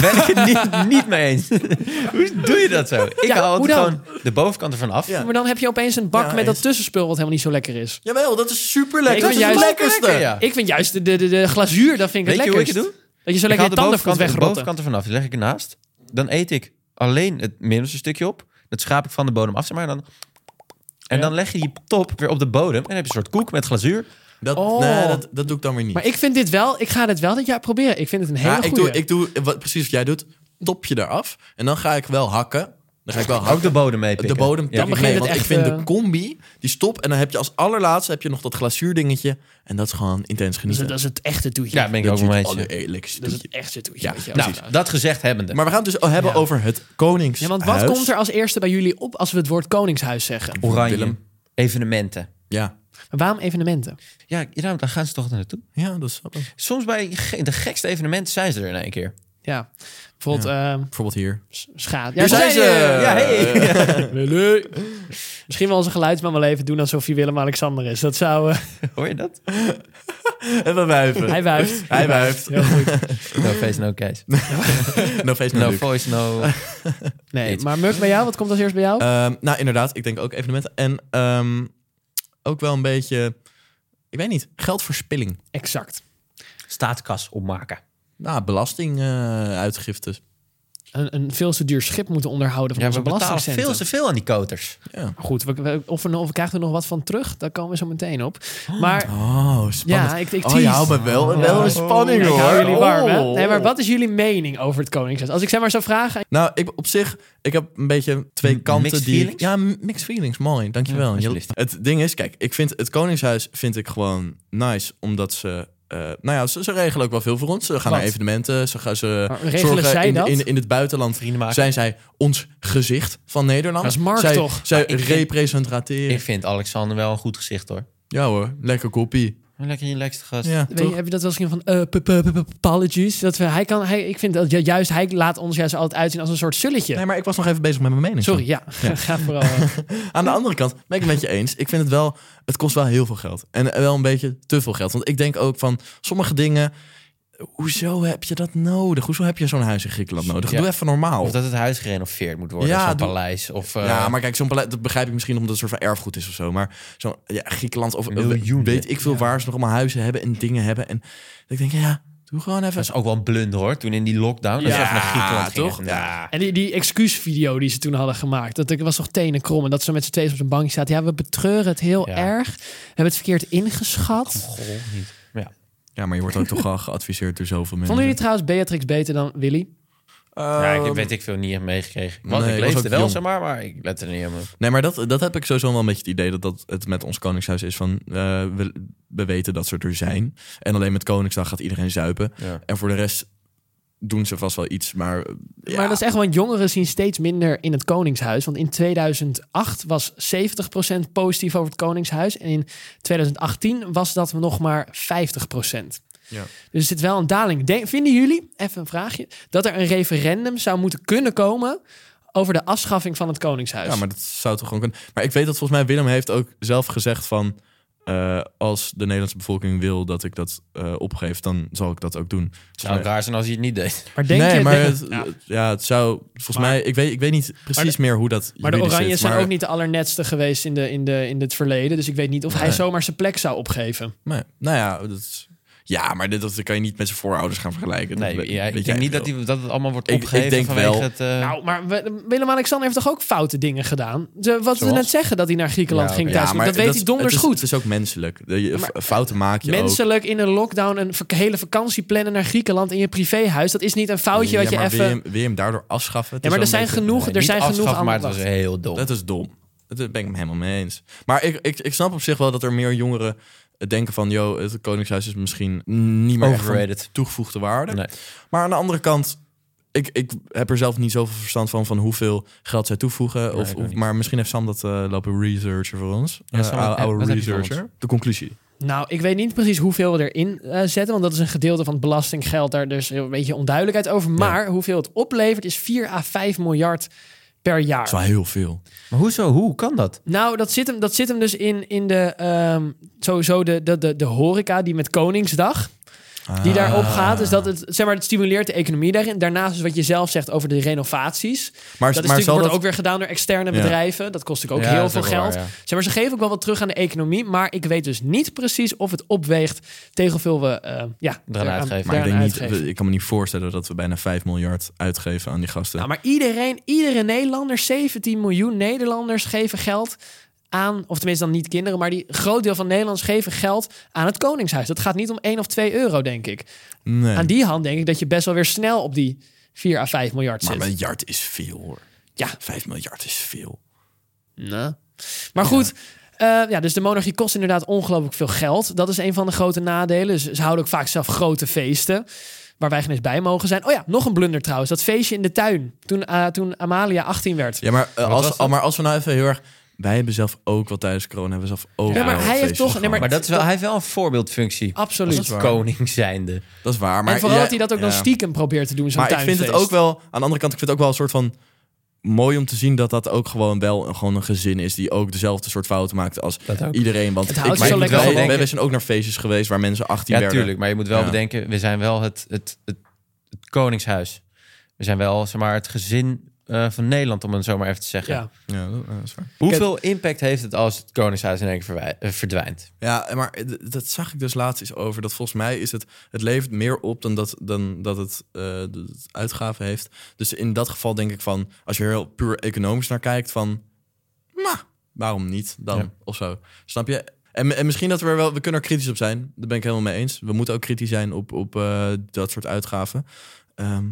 S1: ben ik het niet, niet mee eens. hoe doe je dat zo? Ik
S3: Ja,
S1: haal
S3: hoe
S1: altijd
S3: dan?
S1: gewoon de bovenkant ervan af.
S2: Ja.
S3: Maar dan heb je opeens een bak
S2: Ja,
S3: met dat
S2: eens.
S3: tussenspul wat helemaal niet zo lekker is.
S2: Jawel, dat is super
S3: Ik
S2: lekker.
S3: vind
S2: Dat is het
S3: juist-
S2: lekkerste.
S1: Lekker, ja.
S3: Ik vind juist de, de, de, de glazuur, dat vind ik
S1: Weet je
S3: het
S1: hoe ik het
S3: lekkerst.
S1: doe?
S3: Dat je zo
S1: Ik
S3: lekker
S1: haal
S3: je
S1: de
S3: tanden
S1: bovenkant,
S3: voelt
S1: de
S3: wegrotten.
S1: bovenkant ervan af. Die leg ik ernaast. Dan eet ik alleen het middelste stukje op. Dat schaap ik van de bodem af, zeg maar. En dan, en dan leg je die top weer op de bodem. En dan heb je een soort koek met glazuur.
S2: Dat,
S3: Oh.
S2: nee, dat, dat doe ik dan weer niet.
S3: Maar ik vind dit wel, ik ga dit wel dit jaar proberen. Ik vind het een hele
S2: ja,
S3: goede.
S2: ik doe, ik doe wat, precies wat jij doet. Topje eraf. En dan ga ik wel hakken. Dan ga ik wel hakken.
S1: Ook de bodem mee
S2: De bodem
S1: Ja.
S2: tik ik
S3: begint
S2: mee,
S3: het
S2: want ik
S3: echt,
S2: vind
S3: eh,
S2: de combi, die stop. En dan heb je als allerlaatste heb je nog dat glazuurdingetje. En dat is gewoon intens
S3: dat, is,
S2: genieten.
S3: dat is Dus het echte toetje.
S1: Ja, daar ben ik ook mee eens.
S2: het allerlekkerste
S3: dat is
S2: toetje.
S3: Dus het echte toetje.
S2: Ja,
S3: weet je wel.
S1: Nou, dat gezegd hebbende.
S2: Maar we gaan het dus hebben
S3: Ja.
S2: over het koningshuis.
S3: Ja, want wat komt er als eerste bij jullie op als we het woord koningshuis zeggen?
S1: Oranje.
S2: Willem.
S1: Evenementen.
S2: Ja,
S3: Maar waarom evenementen?
S1: Ja, ja, daar gaan ze toch naartoe.
S2: ja dat is grappig.
S1: Soms bij ge- de gekste evenementen zijn ze er in één keer.
S3: Ja, bijvoorbeeld ehm
S2: Bijvoorbeeld hier.
S3: schaat. Ja,
S2: Hier zijn ze!
S1: Ja, hey.
S3: Lulu. Misschien wel onze geluidsman wel even doen alsof hij Willem-Alexander is. Dat zou... eh,
S1: Hoor je dat?
S2: En we wuiven.
S3: hij wuift.
S2: Hij wuift.
S3: Heel goed.
S1: No face, no case.
S2: No face, no,
S1: No
S2: Luke.
S1: voice, no...
S3: Nee,
S1: Iets.
S3: maar Muk bij jou, wat komt als eerst bij jou?
S2: Ehm, nou, inderdaad. Ik denk ook evenementen. En ehm, ook wel een beetje... Ik weet niet. Geldverspilling.
S3: exact.
S1: Staatskas opmaken.
S2: Nou, belastinguitgiftes.
S3: Een, een veel te duur schip moeten onderhouden van
S1: Ja,
S3: onze
S1: we betalen
S3: belastingcenten.
S1: veel te veel aan die koters.
S2: ja.
S3: Goed, we, we- of, we, of we krijgen er nog wat van terug, daar komen we zo meteen op. Maar
S2: Oh, spannend.
S3: ja, ik, ik
S2: oh, je
S3: tease.
S2: houdt me wel, wel een spanning,
S3: Ik
S2: hoor.
S3: hou jullie warm, hè?
S2: Oh.
S3: Nee, maar wat is jullie mening over het Koningshuis? Als ik zeg maar eh, zou vragen...
S2: Nou, ik, op zich, ik heb een beetje twee
S1: M-
S2: kanten
S1: mixed
S2: die...
S1: feelings?
S2: Ja, m- mixed feelings, mooi, dankjewel.
S1: Ja,
S2: Je-
S1: alsjeblieft.
S2: het ding is, kijk, ik vind het Koningshuis vind ik gewoon nice, omdat ze... eh, nou ja, ze, ze regelen ook wel veel voor ons. Ze gaan
S3: Wat?
S2: naar evenementen, ze gaan ze
S3: Maar regelen
S2: zorgen
S3: zij
S2: in,
S3: dat?
S2: In, in het buitenland.
S1: Vrienden maken.
S2: Zijn zij ons gezicht van Nederland?
S3: Dat is Mark
S2: zij,
S3: toch?
S2: Zij
S1: ik vind-
S2: representeren.
S1: Ik vind Alexander wel een goed gezicht hoor.
S2: Ja hoor, lekker kopie.
S1: Lekker je lekste gast.
S2: Ja,
S3: Weet je, heb je dat wel eens gezien van eh, p- p- p- p- apologies? Dat we, hij kan, hij, ik vind dat ju- juist hij laat ons juist altijd uitzien als een soort sulletje.
S2: Nee, maar ik was nog even bezig met mijn mening.
S3: Sorry, ja. Ga vooral. eh,
S2: Aan de andere kant ben ik het met je eens. Ik vind het wel, het kost wel heel veel geld. En wel een beetje te veel geld. Want ik denk ook van sommige dingen. Hoezo heb je dat nodig? Hoezo heb je zo'n huis in Griekenland nodig?
S1: Ja.
S2: Doe even normaal.
S1: Of dat het huis gerenoveerd moet worden.
S2: Ja,
S1: zo'n
S2: doe-
S1: paleis. Of eh,
S2: Ja, maar kijk, zo'n paleis, dat begrijp ik misschien omdat het een soort van erfgoed is of zo. Maar zo'n ja, Griekenland of
S1: Miljoenen.
S2: weet ik veel waar ze nog allemaal huizen hebben en dingen hebben. En ik denk, ja, doe gewoon even.
S1: dat is ook wel een blunder hoor. Toen in die lockdown. dat
S3: Ja,
S1: we even naar Griekenland gingen.
S2: toch?
S1: Ja.
S3: En die, die excuusvideo die ze toen hadden gemaakt, dat ik- was toch tenen krom en dat ze met z'n tweeën op zijn bankje zaten. Ja, we betreuren het heel
S1: Ja.
S3: erg. We hebben het verkeerd ingeschat.
S1: Goh, niet. Ja.
S2: Ja, maar je wordt ook toch al geadviseerd door zoveel mensen.
S3: Vonden jullie trouwens Beatrix beter dan Willy?
S1: ja,
S2: Ehm,
S1: ik weet ik veel niet echt meegekregen. Want
S2: nee,
S1: ik
S2: ik was
S1: leefde
S2: ook
S1: wel,
S2: jong.
S1: zeg maar, maar ik lette er niet helemaal op.
S2: Nee, maar dat, dat heb ik sowieso wel een beetje het idee dat, dat het met ons Koningshuis is van eh, we, we weten dat ze er zijn. En alleen met Koningsdag gaat iedereen zuipen.
S1: Ja.
S2: En voor de rest doen ze vast wel iets. Maar, eh, ja.
S3: Maar dat is echt, want jongeren zien steeds minder in het Koningshuis. Want in 2008 was 70% positief over het Koningshuis. En in 2018 was dat nog maar 50%.
S2: Ja.
S3: Dus er zit wel een daling. Denk- vinden jullie, even een vraagje, dat er een referendum zou moeten kunnen komen over de afschaffing van het Koningshuis?
S2: ja, maar dat zou toch gewoon kunnen. Maar ik weet dat volgens mij Willem heeft ook zelf gezegd van... eh, als de Nederlandse bevolking wil dat ik dat eh, opgeef, dan zal ik dat ook doen.
S1: Zou het
S2: mij-
S1: raar zijn als hij het niet deed.
S3: Maar Nou, denk
S2: nee,
S3: je,
S2: maar
S3: denk-
S2: het, ja. het zou... Volgens mij, ik weet, ik weet niet precies meer hoe dat
S3: maar de
S2: juridisch
S3: Oranjes
S2: zit,
S3: zijn
S2: maar-
S3: ook niet de allernetste geweest in, de, in, de, in het verleden. Dus ik weet niet of hij
S2: Nee.
S3: zomaar zijn plek zou opgeven.
S2: Nee, nou ja, dat is- ja, maar dit, dat kan je niet met zijn voorouders gaan vergelijken. Dat
S1: Nee,
S2: weet-
S1: ja, ik
S2: weet
S1: denk
S2: jij
S1: niet
S2: veel.
S1: dat, die, dat het allemaal wordt
S2: Ik- ik
S1: opgegeven
S2: denk
S1: vanwege
S2: wel.
S1: het... eh,
S3: Nou, maar we- Willem-Alexander heeft toch ook foute dingen gedaan? De, wat we
S1: Zoals?
S3: net zeggen, dat hij naar Griekenland
S1: Ja,
S3: ging
S1: oké.
S3: thuis. dat weet hij
S2: is-
S3: donders
S2: het is,
S3: goed.
S2: Het is ook menselijk. De- je-
S3: Maar-
S2: fouten maak je ook.
S3: Menselijk in een lockdown een vak- hele vakantie plannen naar Griekenland in je privéhuis. Dat is niet een foutje wat je
S2: maar
S3: even...
S2: Wil je, hem- wil je hem daardoor afschaffen? Het
S3: Ja,
S2: is
S3: maar er
S2: wel
S3: zijn
S2: een beetje-
S3: genoeg,
S1: nee,
S3: er
S1: niet
S3: zijn genoeg
S1: afschaffen, maar het
S3: andere...
S1: was heel dom.
S2: Dat is dom. Dat ben ik hem helemaal mee eens. Maar ik, ik, ik snap op zich wel dat er meer jongeren eh, denken van... yo, het Koningshuis is misschien niet meer echt van
S1: Overrated.
S2: toegevoegde waarde.
S1: Nee.
S2: Maar aan de andere kant... Ik, ik heb er zelf niet zoveel verstand van, van hoeveel geld zij toevoegen. of,
S1: ik ook
S2: of-
S1: niet.
S2: maar misschien heeft Sam dat eh, lopen researcher voor ons.
S1: Ja,
S2: Eh,
S1: Sam,
S2: oude-
S1: wat heb-
S2: oude
S1: wat heb je voor
S2: researcher. De conclusie.
S3: Nou, ik weet niet precies hoeveel we erin eh, zetten. Want dat is een gedeelte van het belastinggeld. Daar dus een beetje onduidelijkheid over. Maar hoeveel het oplevert is 4 à 5 miljard per jaar.
S2: is wel heel veel.
S1: Maar hoezo? Hoe kan dat?
S3: Nou, dat zit hem, dat zit hem dus in, in de, ehm, sowieso de, de, de, de horeca die met Koningsdag,
S2: Ah.
S3: die daarop gaat. Dus dat het, zeg maar, het stimuleert de economie daarin. Daarnaast is wat je zelf zegt over de renovaties.
S2: Maar,
S3: dat is
S2: maar
S3: natuurlijk,
S2: zal
S3: wordt
S2: dat...
S3: ook weer gedaan door externe
S2: Ja.
S3: bedrijven. Dat kost natuurlijk ook heel veel geld. Zeg maar, ze geven ook wel wat terug aan de economie. Maar ik weet dus niet precies of het opweegt tegen hoeveel we eh, ja, eraan-
S1: uitgeven.
S2: maar ik, denk
S3: daaraan
S2: niet,
S3: uitgeven.
S2: we- ik kan me niet voorstellen dat we bijna 5 miljard uitgeven aan die gasten.
S3: Nou, maar iedereen, iedere Nederlander, 17 miljoen Nederlanders geven geld aan, of tenminste dan niet kinderen, maar die groot deel van Nederlanders geven geld aan het Koningshuis. Dat gaat niet om 1 of 2 euro, denk ik.
S2: nee.
S3: Aan die hand denk ik dat je best wel weer snel op die 4 à 5 miljard
S2: Maar
S3: zit.
S2: een miljard is veel hoor.
S3: Ja.
S2: 5 miljard is veel.
S3: Nou. Maar goed, eh, ja, dus de monarchie kost inderdaad ongelooflijk veel geld. Dat is een van de grote nadelen. Ze, ze houden ook vaak zelf grote feesten. Waar wij geen eens bij mogen zijn. Oh ja, nog een blunder trouwens. Dat feestje in de tuin. Toen, eh, toen Amalia 18 werd.
S2: Ja, maar, eh,
S1: was
S2: als,
S1: dat?
S2: maar als we nou even heel erg... Wij hebben zelf ook wel tijdens corona, hebben we zelf ook
S3: Ja, maar
S2: wel
S3: hij heeft
S2: feestjes
S3: toch- nee,
S2: gehad.
S3: maar-
S1: Maar dat is wel, hij heeft wel een voorbeeldfunctie.
S3: Absoluut.
S1: Als koning zijnde.
S2: dat is waar. Maar
S3: en vooral
S2: ja,
S3: dat hij dat ook dan
S2: ja.
S3: stiekem probeert te doen, zo'n
S2: Maar ik vind het ook
S3: tuinfeest.
S2: wel... Aan de andere kant, ik vind het ook wel een soort van... Mooi om te zien dat dat ook gewoon wel een, gewoon een gezin is... die ook dezelfde soort fouten maakt als
S1: Dat ook.
S2: iedereen. Want
S3: Het houdt
S2: ik- maar
S3: zich zo
S2: ik-
S3: lekker
S2: wij-
S1: gewoon.
S2: wij- wij zijn ook naar feestjes geweest waar mensen 18
S1: Ja,
S2: werden.
S1: tuurlijk. Maar je moet wel
S2: Ja.
S1: bedenken, we zijn wel het, het, het, het koningshuis. We zijn wel, zeg maar, het gezin eh, van Nederland, om het zo maar even te zeggen.
S3: Ja.
S2: Ja, dat, dat is waar.
S1: Hoeveel impact heeft het als het koningshuis in één keer verwij- eh, verdwijnt?
S2: Ja, maar d- dat zag ik dus laatst eens over. Dat volgens mij is het, het levert meer op dan dat, dan dat het eh, dat het uitgaven heeft. Dus in dat geval denk ik van, als je er heel puur economisch naar kijkt, van, maar waarom niet dan?
S1: Ja.
S2: Of zo. Snap je? En, en misschien dat we er wel, we kunnen er kritisch op zijn. Daar ben ik helemaal mee eens. We moeten ook kritisch zijn op, op eh, dat soort uitgaven. Ehm,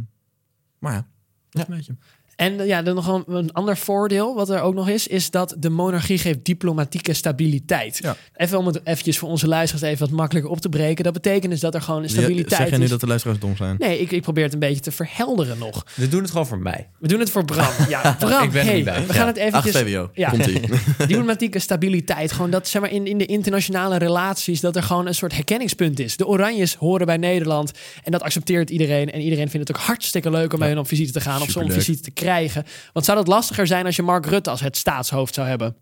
S2: maar ja, dat is een beetje.
S3: En eh, ja, dan nog een, een ander voordeel wat er ook nog is, is dat de monarchie geeft diplomatieke stabiliteit.
S2: Ja.
S3: Even om het eventjes voor onze luisteraars even wat makkelijker op te breken. Dat betekent dus dat er gewoon een stabiliteit
S2: zeg jij nu
S3: is.
S2: dat de luisteraars dom zijn?
S3: Nee, ik, ik probeer het een beetje te verhelderen nog.
S1: We doen het gewoon voor mij.
S3: We doen het voor Bram. Ja, Bram,
S1: Ik ben er
S3: hey,
S1: niet bij.
S3: we
S1: Ja.
S3: gaan het
S2: 8
S3: eventjes...
S2: VWO,
S3: Ja.
S2: komt-ie.
S3: Diplomatieke stabiliteit. Gewoon dat zeg maar, in, in de internationale relaties dat er gewoon een soort herkenningspunt is. De Oranjes horen bij Nederland en dat accepteert iedereen. En iedereen vindt het ook hartstikke leuk om bij hun op visite te gaan of ze om
S2: Superleuk.
S3: visite te krijgen. Want zou dat lastiger zijn als je Mark Rutte als het staatshoofd zou hebben?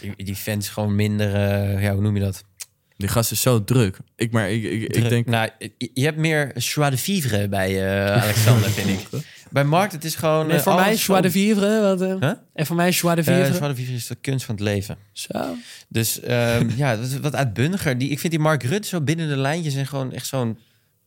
S1: Die, die fans gewoon minder, eh, ja, hoe noem je dat?
S2: Die gast is zo druk. Ik, maar ik, ik, ik denk,
S1: Nou, je- je hebt meer joie de vivre bij eh, Alexander, vind ik. Bij Mark, het is gewoon...
S3: En
S1: eh,
S3: voor
S1: alles
S3: mij
S1: zo-
S3: joie de vivre. Wat, eh,
S1: Huh?
S3: En voor mij joie de
S1: Eh,
S3: vivre.
S1: joie de vivre is de kunst van het leven.
S3: Zo.
S1: Dus ehm, ja, dat is wat uitbundiger. Die, ik vind die Mark Rutte zo binnen de lijntjes en gewoon echt zo'n...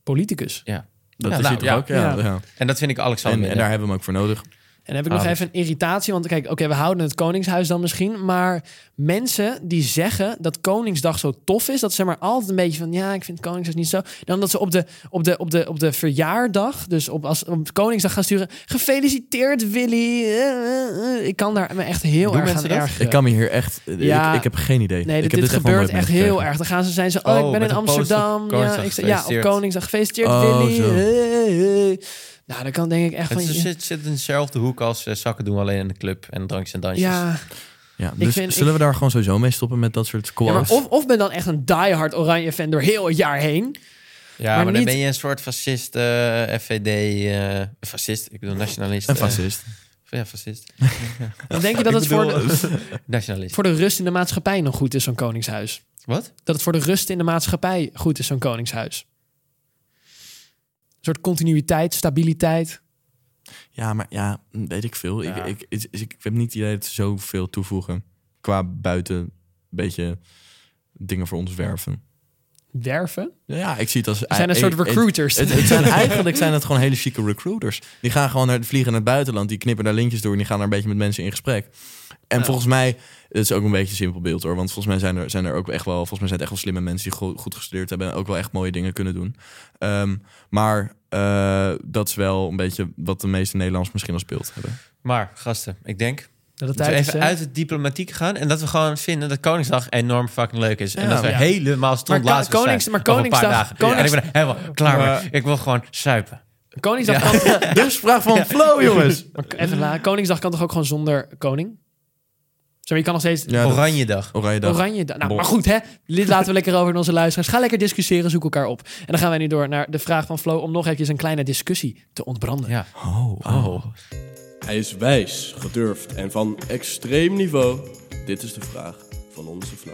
S3: Politicus.
S1: Ja.
S2: dat
S1: Ja,
S2: is
S1: nou,
S2: hij toch
S1: ja.
S2: ook? Ja,
S3: Ja.
S2: ja.
S1: En dat vind ik Alexander.
S2: En,
S1: minder.
S2: en daar hebben we hem ook voor nodig.
S3: En dan heb ik nog
S1: Ah,
S3: even een irritatie. Want kijk, oké, we houden het Koningshuis dan misschien. Maar mensen die zeggen dat Koningsdag zo tof is. Dat ze zeg maar altijd een beetje van... Ja, ik vind Koningsdag niet zo. Dan dat ze op de, op de, op de, op de verjaardag... Dus op, als, op Koningsdag gaan sturen... Gefeliciteerd, Willy. Eh, eh, eh. Ik kan daar me echt heel
S1: Doen
S3: erg aan
S1: mensen dat?
S3: ergeren.
S2: Ik kan me hier echt... eh,
S3: Ja.
S2: Ik, ik heb geen idee.
S3: Nee, dit,
S2: ik heb
S3: dit
S2: echt van
S3: gebeurt
S2: nooit
S3: echt heel
S2: meegekregen.
S3: erg. Dan gaan ze zijn zo...
S1: Oh,
S3: Oh, ik ben
S1: met
S3: in
S1: een post op
S3: Amsterdam. Ja,
S1: Koningsdag,
S3: ik, sta- ja, op
S1: gefeliciteerd.
S3: Koningsdag. Gefeliciteerd,
S2: Oh,
S3: Willy.
S2: zo.
S3: Hey, hey. Nou, dan kan denk ik echt
S1: Het
S3: van...
S1: is- zit, zit in dezelfde hoek als eh, zakken doen alleen in de club en drankjes en dansjes.
S3: ja,
S2: Ja, dus
S3: vind-
S2: zullen we daar gewoon sowieso mee stoppen met dat soort
S3: Ja, maar
S2: quotes?
S3: of, of ben dan echt een diehard oranje fan door heel het jaar heen.
S1: Ja,
S3: Maar
S1: maar, dan
S3: niet-
S1: ben je een soort fascist, eh, FVD, eh, fascist, ik bedoel nationalist.
S2: Een
S1: eh,
S2: fascist.
S1: ja, fascist.
S3: Dan denk je dat het voor de,
S1: Nationalist.
S3: voor de rust in de maatschappij nog goed is, zo'n koningshuis.
S1: Wat?
S3: Dat het voor de rust in de maatschappij goed is, zo'n koningshuis. Een soort continuïteit, stabiliteit.
S2: Ja, maar ja, weet ik veel.
S1: Ja.
S2: Ik, ik, ik, ik, heb niet het idee dat ze zoveel toevoegen. Qua buiten een beetje dingen voor ons werven.
S3: Werven.
S2: Ja, ik zie het als...
S3: Er zijn een
S2: eh,
S3: soort
S2: eh,
S3: recruiters.
S2: Het, het zijn, eigenlijk zijn het gewoon hele chique recruiters. Die gaan gewoon naar, vliegen naar het buitenland. Die knippen daar lintjes door en die gaan daar een beetje met mensen in gesprek. En volgens mij, het is ook een beetje een simpel beeld hoor. Want volgens mij zijn er, zijn er ook echt wel, volgens mij zijn het echt wel slimme mensen die go- goed gestudeerd hebben. En ook wel echt mooie dingen kunnen doen. Ehm, maar eh, dat is wel een beetje wat de meeste Nederlanders misschien al speeld hebben.
S1: Maar, gasten, ik denk
S3: Dat het
S1: dat we
S3: tijd is,
S1: even
S3: hè?
S1: uit het diplomatiek gaan... en dat we gewoon vinden dat Koningsdag enorm fucking leuk is. en
S2: Ja.
S1: dat we
S3: Ja.
S1: helemaal stond
S3: Maar Ko-
S1: laatst zijn
S3: Konings- maar
S1: over een paar dagen.
S3: Koningsdag- Konings-
S1: En ik ben er helemaal klaar
S2: Ja.
S1: mee. Ik wil gewoon suipen.
S3: Koningsdag kan,
S2: Dus vraag van Flow jongens.
S3: maar even la- Koningsdag kan toch ook gewoon zonder koning? Zeg maar, je kan nog steeds...
S2: Ja, dat-
S1: Oranje dag.
S2: Oranje dag.
S3: Oranje. da- Nou, maar goed, hè? Dit laten we lekker over in onze luisteraars. Ga lekker discussiëren, zoek elkaar op. En dan gaan wij nu door naar de vraag van Flo om nog eventjes een kleine discussie te ontbranden.
S1: Ja.
S2: Oh,
S1: Oh.
S4: Hij is wijs, gedurfd en van extreem niveau. Dit is de vraag van onze Flo.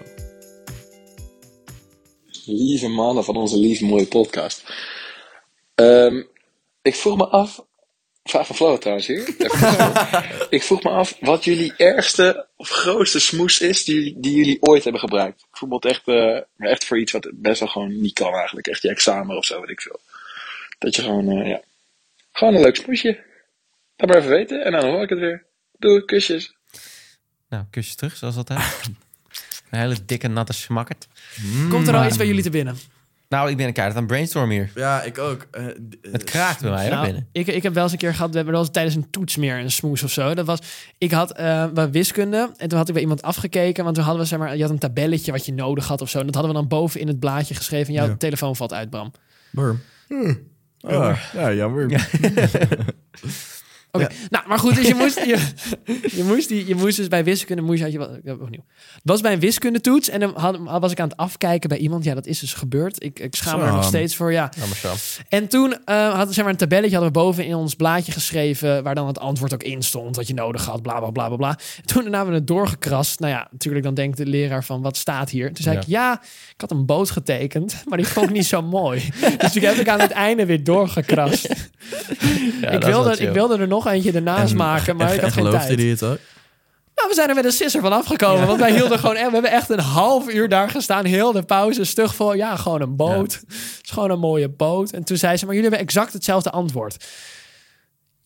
S5: lieve mannen van onze lieve mooie podcast. Ehm, ik vroeg me af. Vraag van Flo trouwens hier. Even zo. ik vroeg me af wat jullie ergste of grootste smoes is die, jullie- die jullie ooit hebben gebruikt. Ik voel me het echt, eh, maar echt voor iets wat best wel gewoon niet kan eigenlijk. Echt je examen of zo, weet ik veel. Dat je gewoon, eh, ja. Gewoon een leuk smoesje. Laat maar even weten en dan hoor ik het weer. Doei, kusjes.
S1: Nou, kusjes terug, zoals altijd. een hele dikke, natte smakkert.
S3: Komt
S2: Hmm.
S3: er al iets bij jullie te binnen?
S1: Nou, ik ben een kaart aan het brainstormen hier.
S2: Ja, ik ook. Eh, d- eh,
S1: Het kraakt bij mij hè,
S3: Nou,
S1: binnen.
S3: ik, ik heb wel eens een keer gehad, we hebben wel eens tijdens een toets meer een smoes of zo. Dat was, ik had eh, bij wiskunde en toen had ik bij iemand afgekeken, want toen hadden we zeg maar, je had een tabelletje wat je nodig had of zo. En dat hadden we dan boven in het blaadje geschreven. Jouw
S2: Ja.
S3: telefoon valt uit, Bram.
S2: Burm.
S3: Hmm.
S1: Jammer.
S2: Ah, Ja, jammer.
S3: Oké, nou, maar goed, dus je moest, je, je moest, die, je moest dus bij wiskunde, moest je, had je wel- ja, opnieuw. Het was bij een wiskundetoets en dan had, was ik aan het afkijken bij iemand. Ja, dat is dus gebeurd. Ik, ik schaam me er nog
S2: Sam.
S3: steeds voor, ja.
S1: Jammer, Sam.
S3: En toen eh, hadden we zeg maar, een tabelletje hadden we boven in ons blaadje geschreven... waar dan het antwoord ook in stond, wat je nodig had, bla, bla, bla, bla, bla. Toen daarna hebben we het doorgekrast. Nou ja, natuurlijk dan denkt de leraar van, wat staat hier? Toen zei
S1: Ja.
S3: ik, ja, ik had een boot getekend, maar die vond ik niet zo mooi. Dus toen heb ik aan het einde weer doorgekrast.
S1: Ja, dat is
S3: ik,
S1: wel
S3: wilde, ik
S1: chill.
S3: wilde er nog eentje ernaast
S2: En-
S3: maken, maar ik
S2: en
S3: had geen
S2: geloofde
S3: tijd.
S2: hij het ook?
S3: Nou, we zijn er met een sisser van afgekomen. Want wij hielden gewoon... echt- We hebben echt een half uur daar gestaan. Heel de pauze, stug vol. Ja, gewoon een boot. Het is gewoon een mooie boot. En toen zei ze... Maar jullie hebben exact hetzelfde antwoord.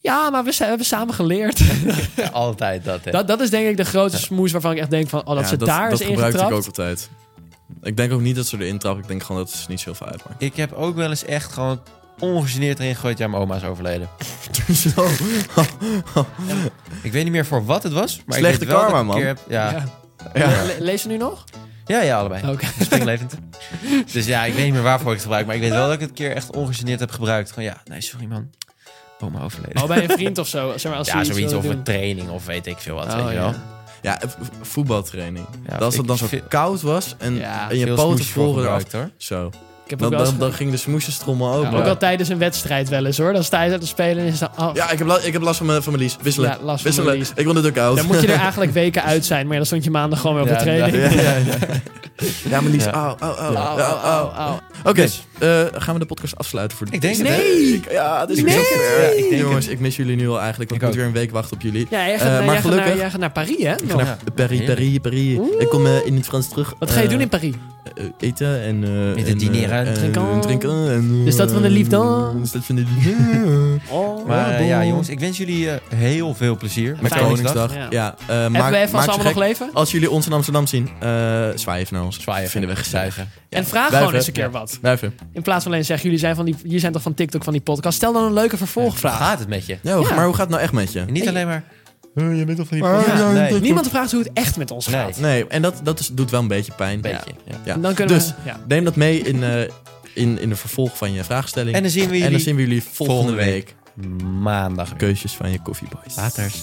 S3: Ja, maar we, zijn- we hebben samen geleerd.
S1: Ja, altijd dat, hè.
S3: Dat, dat is denk ik de grote smoes waarvan ik echt denk van... Oh, dat
S2: Ja,
S3: ze daar
S2: dat
S3: is
S2: gebruikte
S3: ingetrapt.
S2: ik ook altijd. Ik denk ook niet dat ze erin trappen. Ik denk gewoon dat ze niet zoveel uitmaakt.
S1: Ik heb ook wel eens echt gewoon ongegeneerd erin gegooid. Ja, mijn oma is overleden.
S2: Zo.
S1: Ik weet niet meer voor wat het was. Maar
S2: Slechte
S1: ik weet wel
S2: karma,
S1: dat ik een
S2: man.
S1: keer heb- ja.
S3: Ja.
S2: Ja. Oh.
S3: Le- lees ze nu nog?
S1: ja, ja, allebei.
S3: Oké.
S1: Springlevend. dus ja, ik weet niet meer waarvoor ik het gebruik. Maar ik weet wel dat ik het een keer echt ongegeneerd heb gebruikt. Gewoon ja, nee, sorry man. Oma overleden.
S3: Oh, bij een vriend of zo. Zeg maar, als
S1: ja,
S3: ze iets
S1: zoiets
S3: willen
S1: of een
S3: doen.
S1: training of weet ik veel wat.
S3: Oh,
S1: weet je wel.
S3: ja.
S2: Ja, v- voetbaltraining.
S1: Ja,
S2: dat als het
S1: ik-
S2: dan zo
S1: veel-
S2: koud was en,
S3: Ja,
S2: en je
S1: Veel
S2: poten
S1: smoesjes voor
S2: voren eraf.
S1: gebruikt, hoor.
S2: Zo.
S3: Ik heb
S2: Dan,
S3: ook wel eens
S2: dan, dan ging de smoesjestrommel ook.
S3: ge-
S2: maar-
S3: Ook wel tijdens een wedstrijd wel eens hoor. Dan sta je daar te spelen en is dan... oh,
S2: Ja, ik heb, la- ik heb last van mijn, van mijn lies. Wisselen.
S3: Ja, last van
S2: Wisselen.
S3: mijn lies.
S2: Ik wil de dugout.
S3: Dan moet je er eigenlijk weken uit zijn. Maar ja, dan stond je maandag gewoon weer op
S1: Ja,
S3: de training.
S1: ja.
S2: ja, nou, ja, Oh, ja. ja, mijn lies.
S1: Ja.
S2: Au, au, au.
S3: Au,
S2: Ja,
S3: au,
S2: au.
S3: au, au.
S2: Oké, eh, gaan we de podcast afsluiten voor de
S1: Ik denk het, hè.
S2: Nee! Ja, het is
S1: Nee!
S2: weer-
S1: Ja, ik denk
S2: Jongens, ik mis jullie nu al eigenlijk. Want ik,
S1: Ik
S2: moet weer een week wachten op jullie.
S3: Ja, jij gaat,
S2: Eh,
S3: naar,
S2: maar
S3: jij gaat
S2: gelukkig-
S3: naar, jij gaat naar Parijs, hè?
S2: Ik ga
S3: nog.
S2: naar de
S1: Ja.
S2: Paris, Paris, Paris. Ik kom eh, in het Frans terug.
S3: Wat ga je
S2: Eh,
S3: doen in Parijs?
S2: eh, eten en... eh,
S1: Eten,
S2: en, eh,
S1: dineren,
S2: en
S3: drinken.
S2: drinken. En,
S3: De stad van de liefde.
S2: eh, De stad van de liefde.
S3: Oh.
S1: Maar eh, ja,
S2: bon.
S1: jongens, ik wens jullie eh, heel veel plezier.
S2: Met
S3: Fijne
S2: Koningsdag.
S3: dag.
S2: Ja, eh,
S3: Hebben
S2: maak-
S3: we even
S2: maak
S3: als
S2: ze
S3: allemaal
S2: gek.
S3: nog leven?
S2: Als jullie ons in Amsterdam zien, eh zwaai even naar ons.
S1: Zwaaien.
S2: Vinden we gezellig.
S1: Zuigen.
S3: en vraag
S2: blijven.
S3: gewoon eens een keer wat.
S2: Blijven.
S3: In plaats van alleen zeggen, jullie zijn, van die, jullie zijn toch van TikTok van die podcast. Stel dan een leuke
S1: Hoe
S3: vervolgvraag.
S1: gaat het met je?
S2: Ja, hoe-
S3: Ja.
S2: maar hoe gaat het nou echt met je?
S1: En niet alleen maar...
S2: je bent al van die
S1: Ja, nee.
S3: Niemand vraagt hoe het echt met ons
S1: Nee.
S3: gaat.
S2: Nee, en dat, dat is, doet wel een beetje pijn.
S1: Beetje. ja.
S2: Ja.
S3: En dan kunnen
S2: Dus-
S3: we... Ja.
S2: Neem dat mee in, eh, in, in de vervolg van je vraagstelling.
S1: En dan zien we jullie
S2: En dan zien we jullie volgende,
S1: volgende
S2: week.
S1: week. maandag. weer.
S2: Keuzes van je koffieboys.
S1: Later.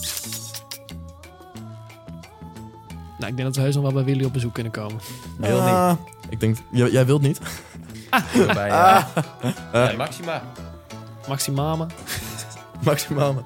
S3: Nou, ik denk dat we heus nog wel bij Willy op bezoek kunnen komen.
S1: Wil niet.
S2: Ah, ik denk, jij, jij wilt niet?
S1: Bij, eh, bij Maxima.
S3: Maximama.
S2: Maximaal.